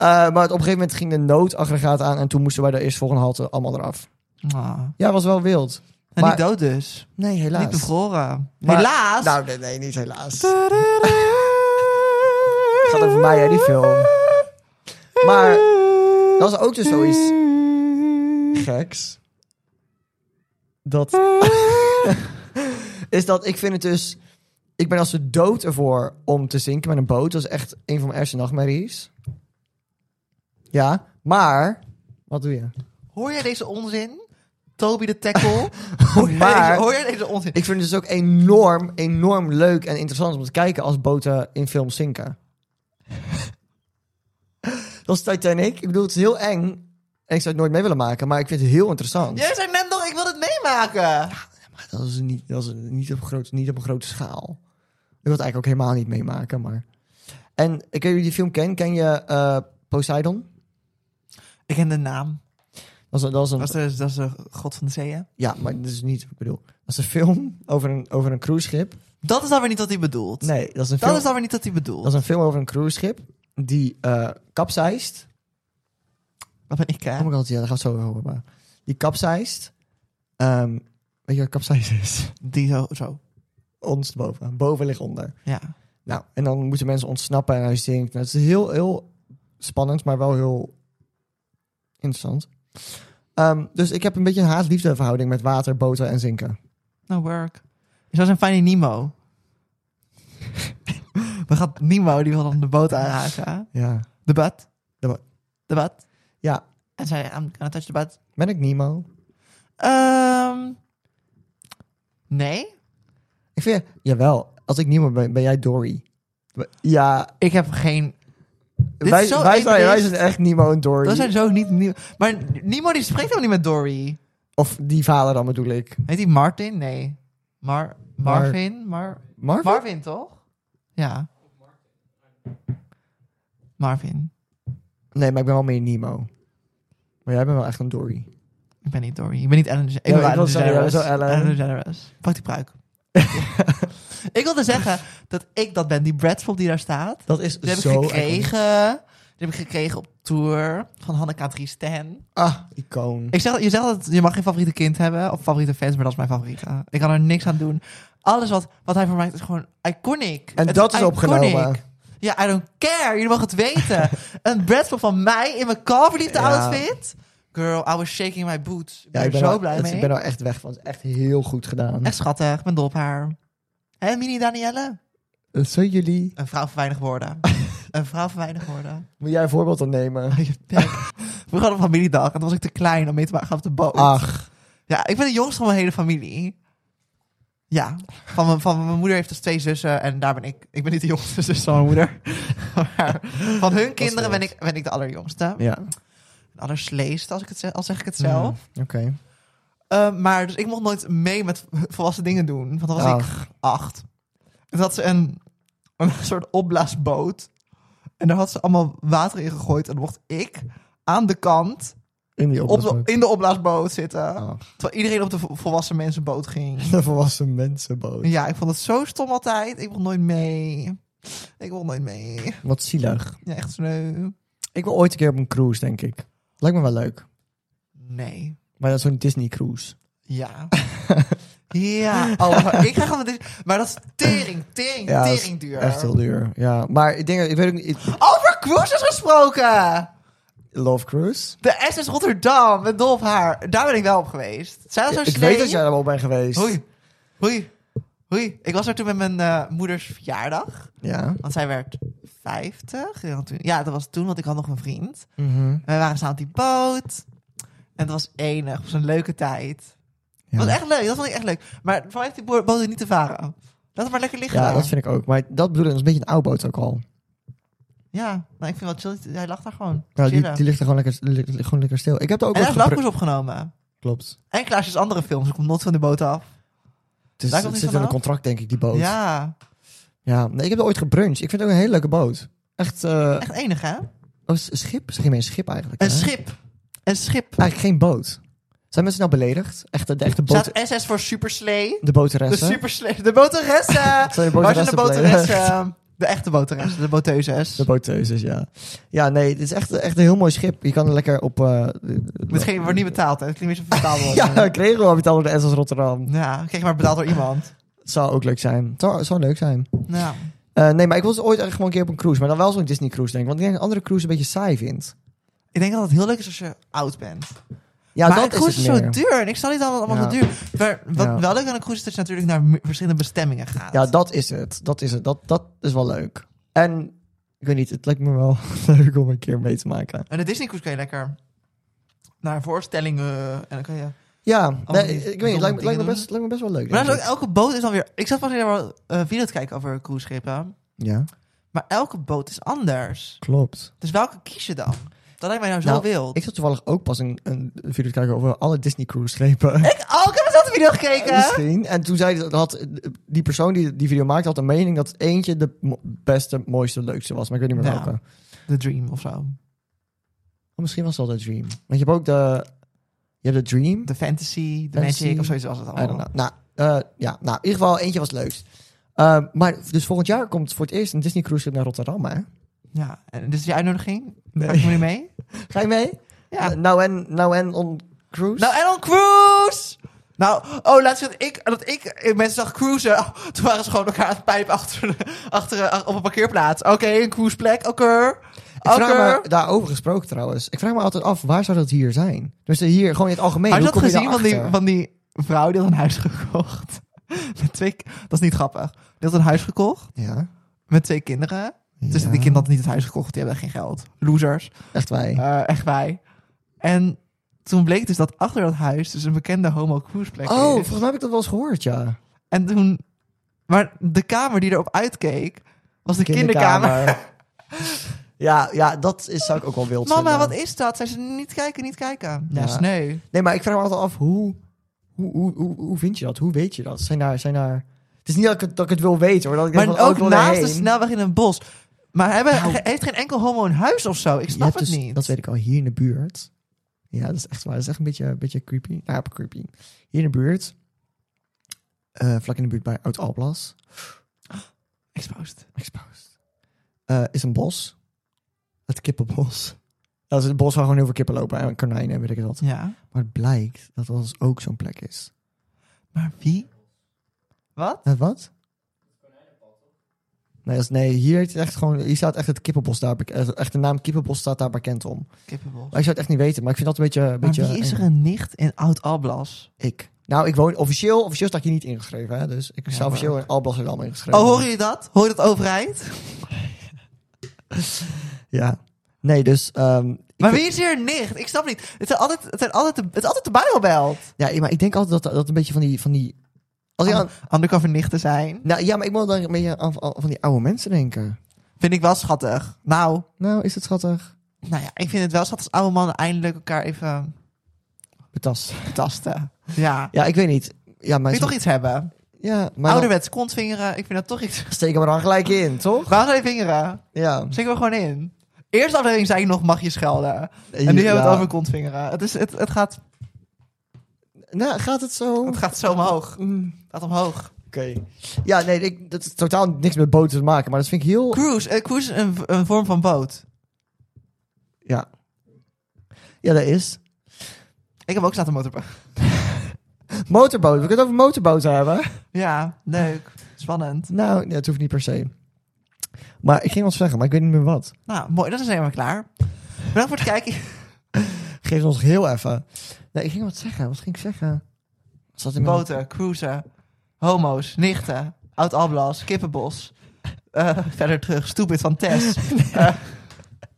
Speaker 1: Eh, maar het- op een gegeven moment ging de noodaggregaat aan... en toen moesten wij de eerstvolgende halte allemaal eraf.
Speaker 2: Ah.
Speaker 1: Ja, was wel wild.
Speaker 2: En
Speaker 1: Maar-
Speaker 2: niet dood dus.
Speaker 1: Nee, helaas.
Speaker 2: Niet bevroren.
Speaker 1: Maar-
Speaker 2: Helaas.
Speaker 1: Nou, nee, nee, niet helaas.
Speaker 2: Het
Speaker 1: Gaat over mij, hè, die film. Maar dat is ook dus zoiets geks. Dat is dat ik vind het dus... Ik ben als de dood ervoor om te zinken met een boot. Dat is echt een van mijn ergste nachtmerries. Ja, maar... Wat doe je?
Speaker 2: Hoor jij deze onzin? Toby de tackle. hoor, jij
Speaker 1: Maar-
Speaker 2: deze, hoor jij deze onzin?
Speaker 1: Ik vind het dus ook enorm, enorm leuk en interessant om te kijken als boten in films zinken. Dat is Titanic. Ik bedoel, het is heel eng. En ik zou het nooit mee willen maken, maar ik vind het heel interessant.
Speaker 2: Jij zei net nog, ik wil het meemaken.
Speaker 1: Maar dat is, niet, dat is niet, op groot, niet op een grote schaal. Ik wil het eigenlijk ook helemaal niet meemaken, maar... En ik weet niet of je die film ken. Ken je eh, Poseidon?
Speaker 2: Ik ken de naam.
Speaker 1: Dat is, een- dat is een,
Speaker 2: Dat is de, dat is de god van de zeeën.
Speaker 1: Ja, maar dat is niet wat ik bedoel. Dat is een film over een, over een cruiseschip.
Speaker 2: Dat is dan weer niet wat hij bedoelt.
Speaker 1: Nee, dat is een film...
Speaker 2: Dat is dan weer niet wat hij bedoelt.
Speaker 1: Dat is een film over een cruiseschip die eh kapseist.
Speaker 2: Wat ben ik, hè?
Speaker 1: Oh my god, ja, dat gaat zo over. Maar. Die kapseist. Ehm, weet je wat kapseist is?
Speaker 2: Die zo, zo.
Speaker 1: Ons boven. Boven ligt onder.
Speaker 2: Ja.
Speaker 1: Nou, en dan moeten mensen ontsnappen en hij zinkt. Nou, het is heel, heel spannend, maar wel heel interessant. Ehm, dus ik heb een beetje een haat-liefde verhouding met water, boten en zinken.
Speaker 2: No work. Zoals een fijne Nemo. We gaat Nemo, die wil dan de boot aanraken.
Speaker 1: Ja.
Speaker 2: De bad.
Speaker 1: De bad.
Speaker 2: De bad.
Speaker 1: Ja.
Speaker 2: En zei, I'm gonna touch the bad.
Speaker 1: Ben ik Nemo?
Speaker 2: Ehm nee.
Speaker 1: Ik vind, jawel, als ik Nemo ben, ben jij Dory. Ja,
Speaker 2: Ik heb geen... Dit
Speaker 1: wij,
Speaker 2: is zo
Speaker 1: wij, zijn, wij
Speaker 2: egoïst.
Speaker 1: zijn echt Nemo en Dory.
Speaker 2: Dat zijn zo niet... Nemo. Maar Nemo die spreekt helemaal niet met Dory.
Speaker 1: Of die vader dan bedoel ik.
Speaker 2: Heet hij Martin? Nee. Mar
Speaker 1: Mar-
Speaker 2: Marvin? Mar
Speaker 1: Marvin?
Speaker 2: Marvin, toch? Ja. Marvin.
Speaker 1: nee, maar ik ben wel meer Nemo. Maar jij bent wel echt een Dory.
Speaker 2: Ik ben niet Dory. Ik ben niet Ellen DeGeneres. Ik
Speaker 1: Ja,
Speaker 2: ben
Speaker 1: ik
Speaker 2: Ellen
Speaker 1: wil zeggen,
Speaker 2: DeGeneres.
Speaker 1: jij bent wel Ellen.
Speaker 2: Ellen DeGeneres. Pak die pruik. ik wilde zeggen dat ik dat ben. Die Bradford die daar staat.
Speaker 1: Dat is
Speaker 2: Die heb
Speaker 1: zo
Speaker 2: ik gekregen. Die heb ik gekregen op tour van Hanneke Driesten.
Speaker 1: Ah, icoon.
Speaker 2: Ik zeg, je zegt dat je mag geen favoriete kind hebben. Of favoriete fans, maar dat is mijn favoriete. Ik kan er niks aan doen. Alles wat, wat hij voor mij maakt is gewoon iconic.
Speaker 1: en
Speaker 2: Het
Speaker 1: dat is
Speaker 2: iconic.
Speaker 1: opgenomen.
Speaker 2: Ja, I don't care. Jullie mogen het weten. een Bradford van mij in mijn coverliefde
Speaker 1: Ja.
Speaker 2: outfit. Girl, I was shaking my boots. Ik ben,
Speaker 1: Ja, ik ben
Speaker 2: er zo
Speaker 1: wel-
Speaker 2: blij
Speaker 1: het-
Speaker 2: mee.
Speaker 1: Ik ben nou echt weg van. Het is echt heel goed gedaan.
Speaker 2: Echt schattig. Ik ben dol op haar. En Mini Danielle.
Speaker 1: Dat Zijn Eh, jullie...
Speaker 2: Een vrouw van weinig woorden. een vrouw van weinig woorden.
Speaker 1: Moet jij een voorbeeld dan nemen?
Speaker 2: Je pik. We hadden een familiedag en toen was ik te klein om mee te gaan op de boot.
Speaker 1: Ach.
Speaker 2: Ja, ik ben de jongste van mijn hele familie. Ja, van mijn, van mijn moeder heeft dus twee zussen en daar ben ik. Ik ben niet de jongste zus van mijn moeder. Maar van hun kinderen ben ik, ben ik de allerjongste.
Speaker 1: Ja.
Speaker 2: De allersleeste, als ik het zeg, al zeg ik het
Speaker 1: Mm,
Speaker 2: zelf.
Speaker 1: Oké.
Speaker 2: Eh, maar dus ik mocht nooit mee met volwassen dingen doen. Want dan was
Speaker 1: Ja.
Speaker 2: ik acht. En toen had ze een, een soort opblaasboot. En daar had ze allemaal water in gegooid. En dan mocht ik aan de kant
Speaker 1: In die
Speaker 2: op de,
Speaker 1: oplossing.
Speaker 2: in de opblaasboot zitten.
Speaker 1: Ah.
Speaker 2: Terwijl iedereen op de vo- volwassen mensenboot ging.
Speaker 1: De volwassen mensenboot.
Speaker 2: Ja, ik vond het zo stom altijd. Ik mocht nooit mee. Ik wil nooit mee.
Speaker 1: Wat zielig.
Speaker 2: Ja, echt sneu.
Speaker 1: Ik wil ooit een keer op een cruise, denk ik. Lijkt me wel leuk.
Speaker 2: Nee.
Speaker 1: Maar dat is zo'n Disney cruise.
Speaker 2: Ja. ja. Oh, maar ik ga gewoon... met dit- Maar dat is tering, tering,
Speaker 1: Ja, dat is
Speaker 2: tering duur.
Speaker 1: Echt heel duur. Ja, maar ik denk, ik weet ook niet. ik-
Speaker 2: Over cruises gesproken!
Speaker 1: Love Cruise.
Speaker 2: De SS Rotterdam met dol op haar. Daar ben ik wel op geweest. Zij was zo
Speaker 1: Ik
Speaker 2: slee.
Speaker 1: weet dat jij daar wel bij geweest.
Speaker 2: Hoi. Hoi. Hoi. Ik was er toen met mijn eh, moeders verjaardag.
Speaker 1: Ja.
Speaker 2: Want zij werd 50. Ja, toen- Ja, dat was toen, want ik had nog een vriend.
Speaker 1: Mhm.
Speaker 2: En we waren samen op die boot. En het was enig. Het was een leuke tijd. Het
Speaker 1: Ja.
Speaker 2: was echt leuk. Dat vond ik echt leuk. Maar voor mij heeft die bo- boot niet te varen. Laat het maar lekker liggen.
Speaker 1: Ja,
Speaker 2: daar.
Speaker 1: dat vind ik ook. Maar dat bedoel ik, dat is een beetje een oude boot ook al. Nou,
Speaker 2: ja nou, ik vind wel chill. Hij lag daar gewoon.
Speaker 1: Nou, die,
Speaker 2: Chillen.
Speaker 1: die ligt er gewoon lekker, li- li- gewoon lekker stil. Ik heb er ook
Speaker 2: en
Speaker 1: wel
Speaker 2: hij
Speaker 1: eens
Speaker 2: heeft
Speaker 1: gepro-
Speaker 2: Lapkoes opgenomen.
Speaker 1: Klopt.
Speaker 2: En Klaasjes andere films. Ik kom nooit van de boot af.
Speaker 1: Het, is,
Speaker 2: Daar komt
Speaker 1: het
Speaker 2: hij
Speaker 1: zit in een
Speaker 2: vanaf?
Speaker 1: contract, denk ik, die boot. Ja.
Speaker 2: Ja.
Speaker 1: Nee, ik heb er ooit gebruncht. Ik vind het ook een hele leuke boot. Echt, eh
Speaker 2: Echt enig, hè?
Speaker 1: oh, s- schip? Ze geen meer een schip eigenlijk.
Speaker 2: Een
Speaker 1: hè?
Speaker 2: schip. Een schip.
Speaker 1: Eigenlijk geen boot. Zijn mensen nou beledigd? Echt, de, de echte boot,
Speaker 2: Staat SS voor Super Slee.
Speaker 1: de
Speaker 2: De
Speaker 1: boteressen?
Speaker 2: Super Slee. De boteressen.
Speaker 1: Zijn de
Speaker 2: Waar zijn de
Speaker 1: boteressen beledigd?
Speaker 2: boteressen? De echte boteressen. De boteuzes.
Speaker 1: De boteuzes, ja. Ja, nee, het is echt, echt een heel mooi schip. Je kan er lekker op... eh
Speaker 2: Hetgeen wordt niet betaald, hè? Het klinkt niet zo vertaald worden.
Speaker 1: ja, ik kreeg wel betaald door de SS Rotterdam.
Speaker 2: Ja, kreeg maar betaald door iemand.
Speaker 1: Het zou ook leuk zijn. Het zou, het zou leuk zijn.
Speaker 2: Ja.
Speaker 1: Eh, nee, maar ik wil ze ooit echt gewoon een keer op een cruise. Maar dan wel zo'n Disney cruise, denk ik. Want ik denk dat een andere cruise een beetje saai vindt.
Speaker 2: Ik denk dat het heel leuk is als je oud bent.
Speaker 1: Ja,
Speaker 2: maar
Speaker 1: dat
Speaker 2: een cruise
Speaker 1: is
Speaker 2: is,
Speaker 1: het
Speaker 2: zo
Speaker 1: meer.
Speaker 2: duur. En ik snap niet dat het allemaal
Speaker 1: Ja.
Speaker 2: zo duur Maar wat
Speaker 1: Ja.
Speaker 2: wel leuk aan een cruise is dat je natuurlijk naar m- verschillende bestemmingen gaat.
Speaker 1: Ja, dat is het. Dat is het. Dat, dat is wel leuk. En ik weet niet, het lijkt me wel leuk om een keer mee te maken.
Speaker 2: En de Disney cruise kan je lekker naar voorstellingen. En dan kan je...
Speaker 1: Ja, nee,
Speaker 2: Oh, die
Speaker 1: ik
Speaker 2: domme
Speaker 1: weet niet. Lijkt, me-
Speaker 2: dingen
Speaker 1: lijkt, me
Speaker 2: doen.
Speaker 1: best, lijkt me best wel leuk.
Speaker 2: Maar dan
Speaker 1: denk
Speaker 2: is ook elke boot is dan weer... Ik zat pas weer wel eh video te kijken over cruiseschepen.
Speaker 1: ik. Ja,
Speaker 2: Maar elke boot is anders.
Speaker 1: klopt.
Speaker 2: Dus welke kies je dan? Dat lijkt mij nou zo
Speaker 1: Nou,
Speaker 2: wild.
Speaker 1: Ik zat toevallig ook pas een, een video te kijken over alle Disney cruise schepen.
Speaker 2: Ik ook heb dezelfde video gekeken.
Speaker 1: Misschien. En toen zei dat had, die persoon die die video maakte, had een mening dat eentje de mo- beste, mooiste, leukste was. Maar ik weet niet meer
Speaker 2: Ja.
Speaker 1: welke.
Speaker 2: The Dream of zo.
Speaker 1: Oh, misschien was het wel de Dream. Want je hebt ook de... Je hebt de Dream.
Speaker 2: The Fantasy, The
Speaker 1: Fantasy.
Speaker 2: Magic of zoiets was het
Speaker 1: I don't
Speaker 2: allemaal.
Speaker 1: know. Nou, eh, ja, nou, in ieder geval eentje was het leukst. Eh, maar dus volgend jaar komt voor het eerst een Disney cruise schip naar Rotterdam, hè?
Speaker 2: Ja, en dus die uitnodiging?
Speaker 1: Nee.
Speaker 2: Ga ik nu mee?
Speaker 1: Ga je mee?
Speaker 2: Ja.
Speaker 1: N- Nou en, nou en on cruise?
Speaker 2: Nou, en dan cruise! Nou, oh, laatst dat ik, dat ik eh, mensen zag cruisen. Oh, toen waren ze gewoon elkaar aan het pijpen achter, achter, ach- op een parkeerplaats. Oké, een cruiseplek, oké.
Speaker 1: ik vraag
Speaker 2: Oké.
Speaker 1: me, daarover gesproken trouwens, ik vraag me altijd af, waar zou dat hier zijn? Dus hier, gewoon in het algemeen,
Speaker 2: Had je
Speaker 1: hoe
Speaker 2: dat
Speaker 1: kom je
Speaker 2: gezien van die,
Speaker 1: daarachter?
Speaker 2: van die vrouw die had een huis gekocht? Met twee, ki- dat is niet grappig. Die had een huis gekocht
Speaker 1: Ja,
Speaker 2: met twee kinderen. Dus
Speaker 1: Ja.
Speaker 2: die kinderen hadden niet het huis gekocht, die hebben geen geld. Losers.
Speaker 1: echt wij.
Speaker 2: Eh, echt wij. En toen bleek dus dat achter dat huis dus een bekende homo cruiseplek
Speaker 1: oh,
Speaker 2: is.
Speaker 1: volgens mij heb ik dat wel eens gehoord, ja.
Speaker 2: En toen... Maar de kamer die erop uitkeek, was de kinderkamer.
Speaker 1: ja, ja, dat is, zou ik ook wel wild
Speaker 2: Mama,
Speaker 1: vinden.
Speaker 2: wat is dat? Zij ze niet kijken, niet kijken. Ja,
Speaker 1: Ja.
Speaker 2: sneu.
Speaker 1: Nee, maar ik vraag me altijd af, hoe, hoe, hoe, hoe, hoe vind je dat? Hoe weet je dat? Zijn daar, zijn daar... Het is niet dat ik het, dat ik het wil weten, hoor. Dat ik denk
Speaker 2: Maar
Speaker 1: van, oh, ik
Speaker 2: ook
Speaker 1: wil
Speaker 2: naast de
Speaker 1: erheen.
Speaker 2: snelweg in een bos. Maar hebben,
Speaker 1: Nou.
Speaker 2: ge- heeft geen enkel homo een huis of zo? Ik
Speaker 1: Je
Speaker 2: snap
Speaker 1: hebt
Speaker 2: het
Speaker 1: dus-
Speaker 2: niet.
Speaker 1: Dat weet ik al, hier in de buurt. Ja, dat is echt waar. Dat is echt een beetje, een beetje creepy. Nou, ja, creepy. Hier in de buurt. eh, vlak in de buurt bij Oud-Alblas.
Speaker 2: Exposed.
Speaker 1: Exposed. Eh, is een bos. Het kippenbos. Dat is het bos waar gewoon heel veel kippen lopen. En konijnen en weet ik het wat.
Speaker 2: Ja.
Speaker 1: Maar het blijkt dat dat dus ook zo'n plek is.
Speaker 2: Maar wie? Wat?
Speaker 1: Dat wat? Nee, dat is, nee hier, heet het echt gewoon, hier staat echt het kippenbos daar. bek- eh, Echt de naam kippenbos staat daar bekend om. Maar
Speaker 2: Kippenbos.
Speaker 1: ik zou het echt niet weten, maar ik vind dat een beetje... Een
Speaker 2: Maar
Speaker 1: beetje
Speaker 2: wie is
Speaker 1: eng.
Speaker 2: er een nicht in Oud-Alblas?
Speaker 1: Ik. Nou, ik woon officieel, officieel sta ik hier niet ingeschreven, hè? dus ik
Speaker 2: Ja,
Speaker 1: sta
Speaker 2: maar-
Speaker 1: officieel in Alblasserdam ingeschreven.
Speaker 2: Oh, hoor je dat? Hoor je dat overheid?
Speaker 1: Ja. Nee, dus... ehm,
Speaker 2: Maar wie is hier nicht? Ik snap niet. Het, zijn altijd, het, zijn altijd de, het is altijd de Bijbelbelt.
Speaker 1: ja, maar ik denk altijd dat dat een beetje van die... Van die als
Speaker 2: Oh.
Speaker 1: ik aan,
Speaker 2: Undercover nichten zijn.
Speaker 1: nou, ja, maar ik moet dan een beetje aan, aan- van die oude mensen denken.
Speaker 2: Vind ik wel schattig. Nou,
Speaker 1: Nou, is het schattig?
Speaker 2: nou ja, ik vind het wel schattig als oude mannen eindelijk elkaar even
Speaker 1: Betast.
Speaker 2: tasten. Ja.
Speaker 1: Ja, ik weet niet. Ja,
Speaker 2: Wil
Speaker 1: maar...
Speaker 2: je toch iets hebben?
Speaker 1: Ja, maar... dan-
Speaker 2: Ouderwets, kontvingeren. Ik vind dat toch iets...
Speaker 1: Steek hem er dan gelijk in, toch?
Speaker 2: Waar zijn die vingeren?
Speaker 1: Ja.
Speaker 2: Steek er gewoon in. Eerste aflevering zei ik nog, mag je schelden. En nu
Speaker 1: Ja.
Speaker 2: hebben we het over kontvingeren. Het, is, het, het, gaat,
Speaker 1: Nou, gaat het zo?
Speaker 2: het gaat zo omhoog.
Speaker 1: Mm,
Speaker 2: Het gaat omhoog.
Speaker 1: Oké. Ja, nee, ik, dat is totaal niks met boten te maken, maar dat vind ik heel...
Speaker 2: Cruise. eh, cruise is een, een vorm van boot.
Speaker 1: Ja. Ja, dat is.
Speaker 2: Ik heb ook staat een motorboot.
Speaker 1: Motorboot. We kunnen het over motorboten hebben.
Speaker 2: Ja, leuk. Spannend.
Speaker 1: Nou, nee, het hoeft niet per se. Maar ik ging wat zeggen, maar ik weet niet meer wat.
Speaker 2: Nou, mooi. Dat is helemaal klaar. Bedankt voor het kijken.
Speaker 1: Geef ons heel even. Nee, ik ging wat zeggen. Wat ging ik zeggen? Zat in mijn-
Speaker 2: Boten, cruisen, homo's, nichten, oud-ablas, kippenbos. Eh, verder terug, stupid van Tess.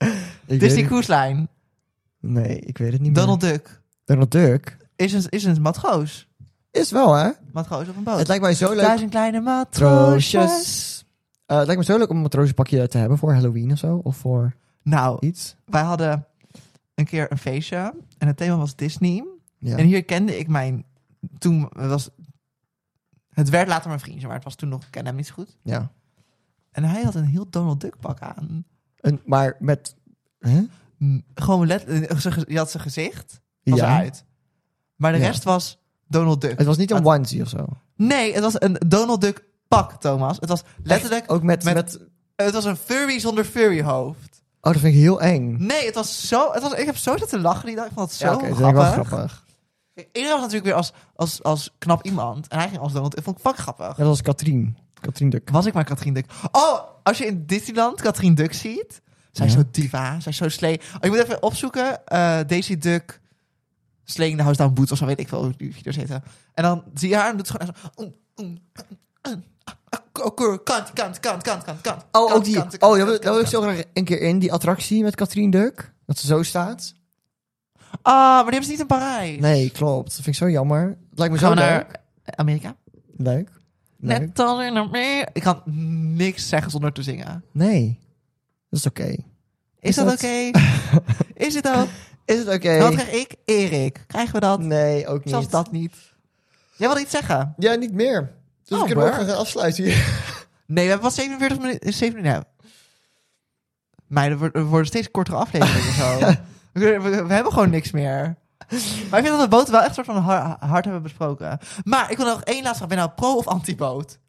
Speaker 2: Eh,
Speaker 1: Ik weet
Speaker 2: Disney
Speaker 1: het-
Speaker 2: Cruise Line.
Speaker 1: Nee, ik weet het niet
Speaker 2: Donald
Speaker 1: meer.
Speaker 2: Duck.
Speaker 1: Donald Duck.
Speaker 2: Is een, is een matroos.
Speaker 1: Is wel, hè?
Speaker 2: Matroos op een boot.
Speaker 1: Het lijkt mij zo leuk.
Speaker 2: Duizend kleine matroosjes.
Speaker 1: Troosjes. Eh, het lijkt me zo leuk om een matrozenpakje te hebben voor Halloween of zo. Of voor
Speaker 2: Nou,
Speaker 1: iets.
Speaker 2: wij hadden een keer een feestje. En het thema was Disney.
Speaker 1: Ja.
Speaker 2: En hier kende ik mijn... Toen was... Het werd later mijn vriendje, maar het was toen nog... Ik kende hem niet zo goed.
Speaker 1: ja.
Speaker 2: En hij had een heel Donald Duck pak aan.
Speaker 1: En, maar met... Hè?
Speaker 2: M- Gewoon let... eh, zijn ge- Je had zijn gezicht. was
Speaker 1: Ja.
Speaker 2: eruit. Maar de
Speaker 1: Ja.
Speaker 2: rest was Donald Duck.
Speaker 1: Het was niet een
Speaker 2: Wat?
Speaker 1: onesie of zo.
Speaker 2: Nee, het was een Donald Duck pak, Thomas. Het was letterlijk...
Speaker 1: Echt? Ook met,
Speaker 2: met-
Speaker 1: met...
Speaker 2: Het was een furry zonder furry hoofd.
Speaker 1: Oh, dat vind ik heel eng.
Speaker 2: Nee, het was zo... Het was, ik heb zo zitten lachen die dag. Ik vond het zo
Speaker 1: oké, dat vind ik
Speaker 2: grappig.
Speaker 1: wel grappig.
Speaker 2: Iedereen was natuurlijk weer als, als, als knap iemand. En hij ging als Donald Duck. Vond ik fucking grappig.
Speaker 1: Net als Katrien. Katrien Duk.
Speaker 2: Was ik maar Katrien Duk. Oh, als je in Disneyland Katrien Duk ziet... Zij is
Speaker 1: Ja.
Speaker 2: zo diva. Zij is zo slee. Oh, je moet even opzoeken. eh Daisy Duck... Slaying the House Down Boots of zo weet ik veel hoe die video's heten. En dan zie je haar en doet ze gewoon echt zo... mm, oem, oem, oem, ah, ah, ah, keur, Kant, kant, kant, kant, kant, kant.
Speaker 1: Oh, ook
Speaker 2: kant,
Speaker 1: die.
Speaker 2: kant, kant,
Speaker 1: oh, daar wil-
Speaker 2: kant,
Speaker 1: daar wil ik
Speaker 2: kant.
Speaker 1: zo graag een keer in. Die attractie met Katrien Duk. Dat ze zo staat.
Speaker 2: Ah, maar die hebben ze niet in Parijs.
Speaker 1: Nee, klopt. Dat vind ik zo jammer. Het lijkt me
Speaker 2: Gaan
Speaker 1: zo
Speaker 2: we
Speaker 1: leuk.
Speaker 2: naar Amerika?
Speaker 1: Leuk. Leuk.
Speaker 2: Net als in Amerika. Ik kan niks zeggen zonder te zingen.
Speaker 1: Nee. Dat is oké.
Speaker 2: Is,
Speaker 1: Is
Speaker 2: dat,
Speaker 1: dat-
Speaker 2: oké? Is het ook?
Speaker 1: Is het oké?
Speaker 2: Wat krijg ik? Erik. Krijgen we dat?
Speaker 1: Nee, ook niet.
Speaker 2: Zelfs dat niet. Jij wilde iets zeggen?
Speaker 1: Ja, niet meer. Dus
Speaker 2: Oh,
Speaker 1: we kunnen we ook
Speaker 2: maar.
Speaker 1: gaan afsluiten hier.
Speaker 2: Nee, we hebben pas 47 minuten. 7 minuten. Maar er wordt- er worden steeds kortere afleveringen of zo. We, kunnen- we- we hebben gewoon niks meer. Maar ik vind dat we boten wel echt soort van har- hard hebben besproken. Maar ik wil nog één laatste vraag. Ben je nou pro of anti-boot?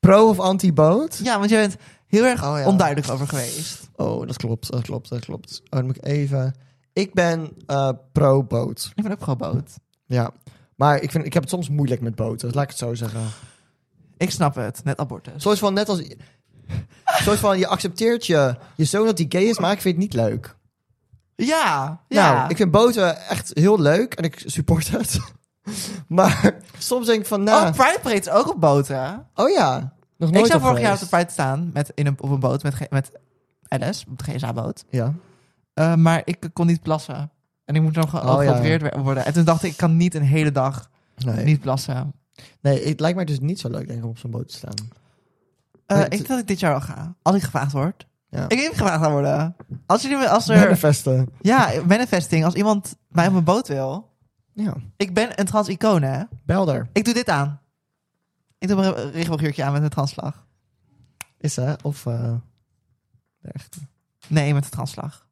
Speaker 1: Pro of anti-boot?
Speaker 2: Ja, want je bent heel erg
Speaker 1: Oh ja.
Speaker 2: onduidelijk over geweest.
Speaker 1: Oh, dat klopt. Dat klopt. Dat klopt. Oh, dan moet ik even. Ik ben eh, pro-boot.
Speaker 2: Ik ben ook pro-boot.
Speaker 1: Ja. Maar ik, vind, ik heb het soms moeilijk met boten. Laat ik het zo zeggen.
Speaker 2: Ik snap het. Net abortus.
Speaker 1: soort van net als. soort van je accepteert je, je zoon dat hij gay is, maar ik vind het niet leuk.
Speaker 2: Ja, ja.
Speaker 1: Nou, ik vind boten echt heel leuk en ik support het. maar soms denk ik van, nou,
Speaker 2: Oh, Pride Parade is ook op boten.
Speaker 1: oh ja, nog nooit
Speaker 2: ik zou
Speaker 1: op
Speaker 2: vorig jaar op de
Speaker 1: geweest.
Speaker 2: Pride staan met, in een, op een boot met, ge- met LS, op de GSA-boot.
Speaker 1: Ja,
Speaker 2: Eh, maar ik kon niet plassen. En ik moest nog
Speaker 1: Oh, ja.
Speaker 2: geopereerd we- worden. En toen dacht ik, ik kan niet een hele dag
Speaker 1: nee.
Speaker 2: niet plassen.
Speaker 1: nee, het lijkt mij dus niet zo leuk denk ik om op zo'n boot te staan.
Speaker 2: Eh,
Speaker 1: Nee,
Speaker 2: ik
Speaker 1: het-
Speaker 2: denk dat ik dit jaar al ga. Als ik gevraagd word.
Speaker 1: Ja.
Speaker 2: Ik weet niet gevraagd gaan worden. Als jullie me- als er...
Speaker 1: Manifesten.
Speaker 2: ja, manifesting. Als iemand mij op een boot wil.
Speaker 1: Ja,
Speaker 2: Ik ben een trans icoon, hè.
Speaker 1: belder
Speaker 2: Ik doe dit aan. Ik doe mijn regenboogjurkje aan met een translag.
Speaker 1: is hè, of eh, de echte.
Speaker 2: Nee, met een translag.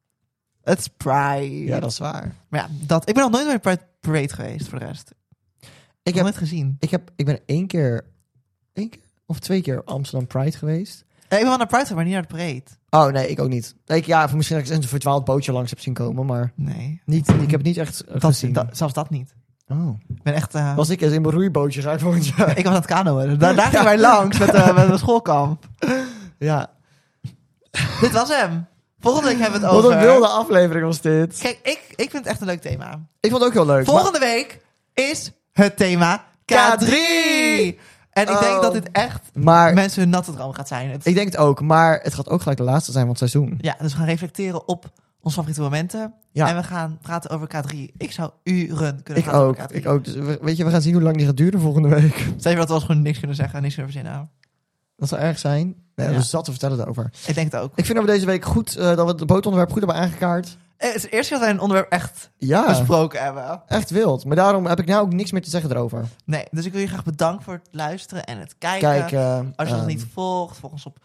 Speaker 2: Het is Pride.
Speaker 1: Ja, dat is waar.
Speaker 2: Maar ja, dat. Ik ben nog nooit bij de Pride Parade geweest voor de rest.
Speaker 1: Ik
Speaker 2: Ik
Speaker 1: heb,
Speaker 2: heb het gezien.
Speaker 1: ik heb, ik ben één keer, één keer of twee keer Amsterdam Pride geweest.
Speaker 2: Eh, Ik ben wel naar Pride geweest, maar niet naar de parade.
Speaker 1: Oh nee, ik ook niet. Ik, ja, of misschien dat ik eens een verdwaald bootje langs heb zien komen, maar
Speaker 2: Nee.
Speaker 1: niet, ik heb het niet echt eh,
Speaker 2: Dat,
Speaker 1: gezien.
Speaker 2: dat- zelfs dat niet.
Speaker 1: oh.
Speaker 2: Ik ben echt... eh,
Speaker 1: Was ik eens in mijn roeibootje uit volgend jaar.
Speaker 2: Ik was aan het kanoën. Daar, daar gingen wij langs met, eh, met een schoolkamp.
Speaker 1: Ja.
Speaker 2: Dit was hem. Volgende week hebben we het
Speaker 1: Wat
Speaker 2: over...
Speaker 1: een wilde aflevering was dit.
Speaker 2: Kijk, ik, ik vind het echt een leuk thema.
Speaker 1: Ik vond het ook heel leuk.
Speaker 2: Volgende week is het thema K3. En ik denk
Speaker 1: Oh.
Speaker 2: dat dit echt
Speaker 1: maar, maar
Speaker 2: mensen hun natte droom gaat zijn. Het-
Speaker 1: ik denk het ook. Maar het gaat ook gelijk de laatste zijn van het seizoen.
Speaker 2: Ja, dus we gaan reflecteren op onze favoriete momenten.
Speaker 1: Ja.
Speaker 2: En we gaan praten over K3. Ik zou uren kunnen
Speaker 1: Ik
Speaker 2: praten
Speaker 1: ook.
Speaker 2: over K3.
Speaker 1: Ik ook. Dus we- weet je, we gaan zien hoe lang die gaat duren volgende week.
Speaker 2: Stel je voor dat we ons gewoon niks kunnen zeggen, niks kunnen verzinnen.
Speaker 1: Dat zou erg zijn. Nee,
Speaker 2: Ja.
Speaker 1: We zat te vertellen daarover.
Speaker 2: Ik denk het ook.
Speaker 1: Ik vind dat we deze week goed, eh, dat we het bootonderwerp goed hebben aangekaart. Dus
Speaker 2: Eh, Het is het eerste keer dat wij een onderwerp echt
Speaker 1: Ja,
Speaker 2: besproken hebben.
Speaker 1: echt wild. Maar daarom heb ik nou ook niks meer te zeggen erover.
Speaker 2: Nee, dus ik wil je graag bedanken voor het luisteren en het kijken.
Speaker 1: Kijk, eh,
Speaker 2: Als je ons
Speaker 1: ehm,
Speaker 2: niet volgt, volg ons op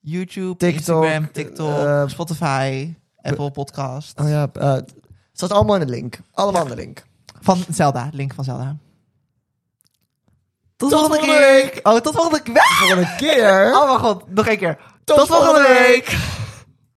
Speaker 2: YouTube,
Speaker 1: TikTok,
Speaker 2: Instagram, TikTok,
Speaker 1: eh,
Speaker 2: Spotify, Apple Podcast.
Speaker 1: Oh ja, eh, het staat allemaal in de link. Allemaal in de link.
Speaker 2: Van Zelda, link van Zelda. Tot, volgende
Speaker 1: volgende
Speaker 2: keer! Oh, tot volgende keer!
Speaker 1: Volgende keer.
Speaker 2: Oh mijn god, nog één keer.
Speaker 1: Tot volgende week.
Speaker 2: week.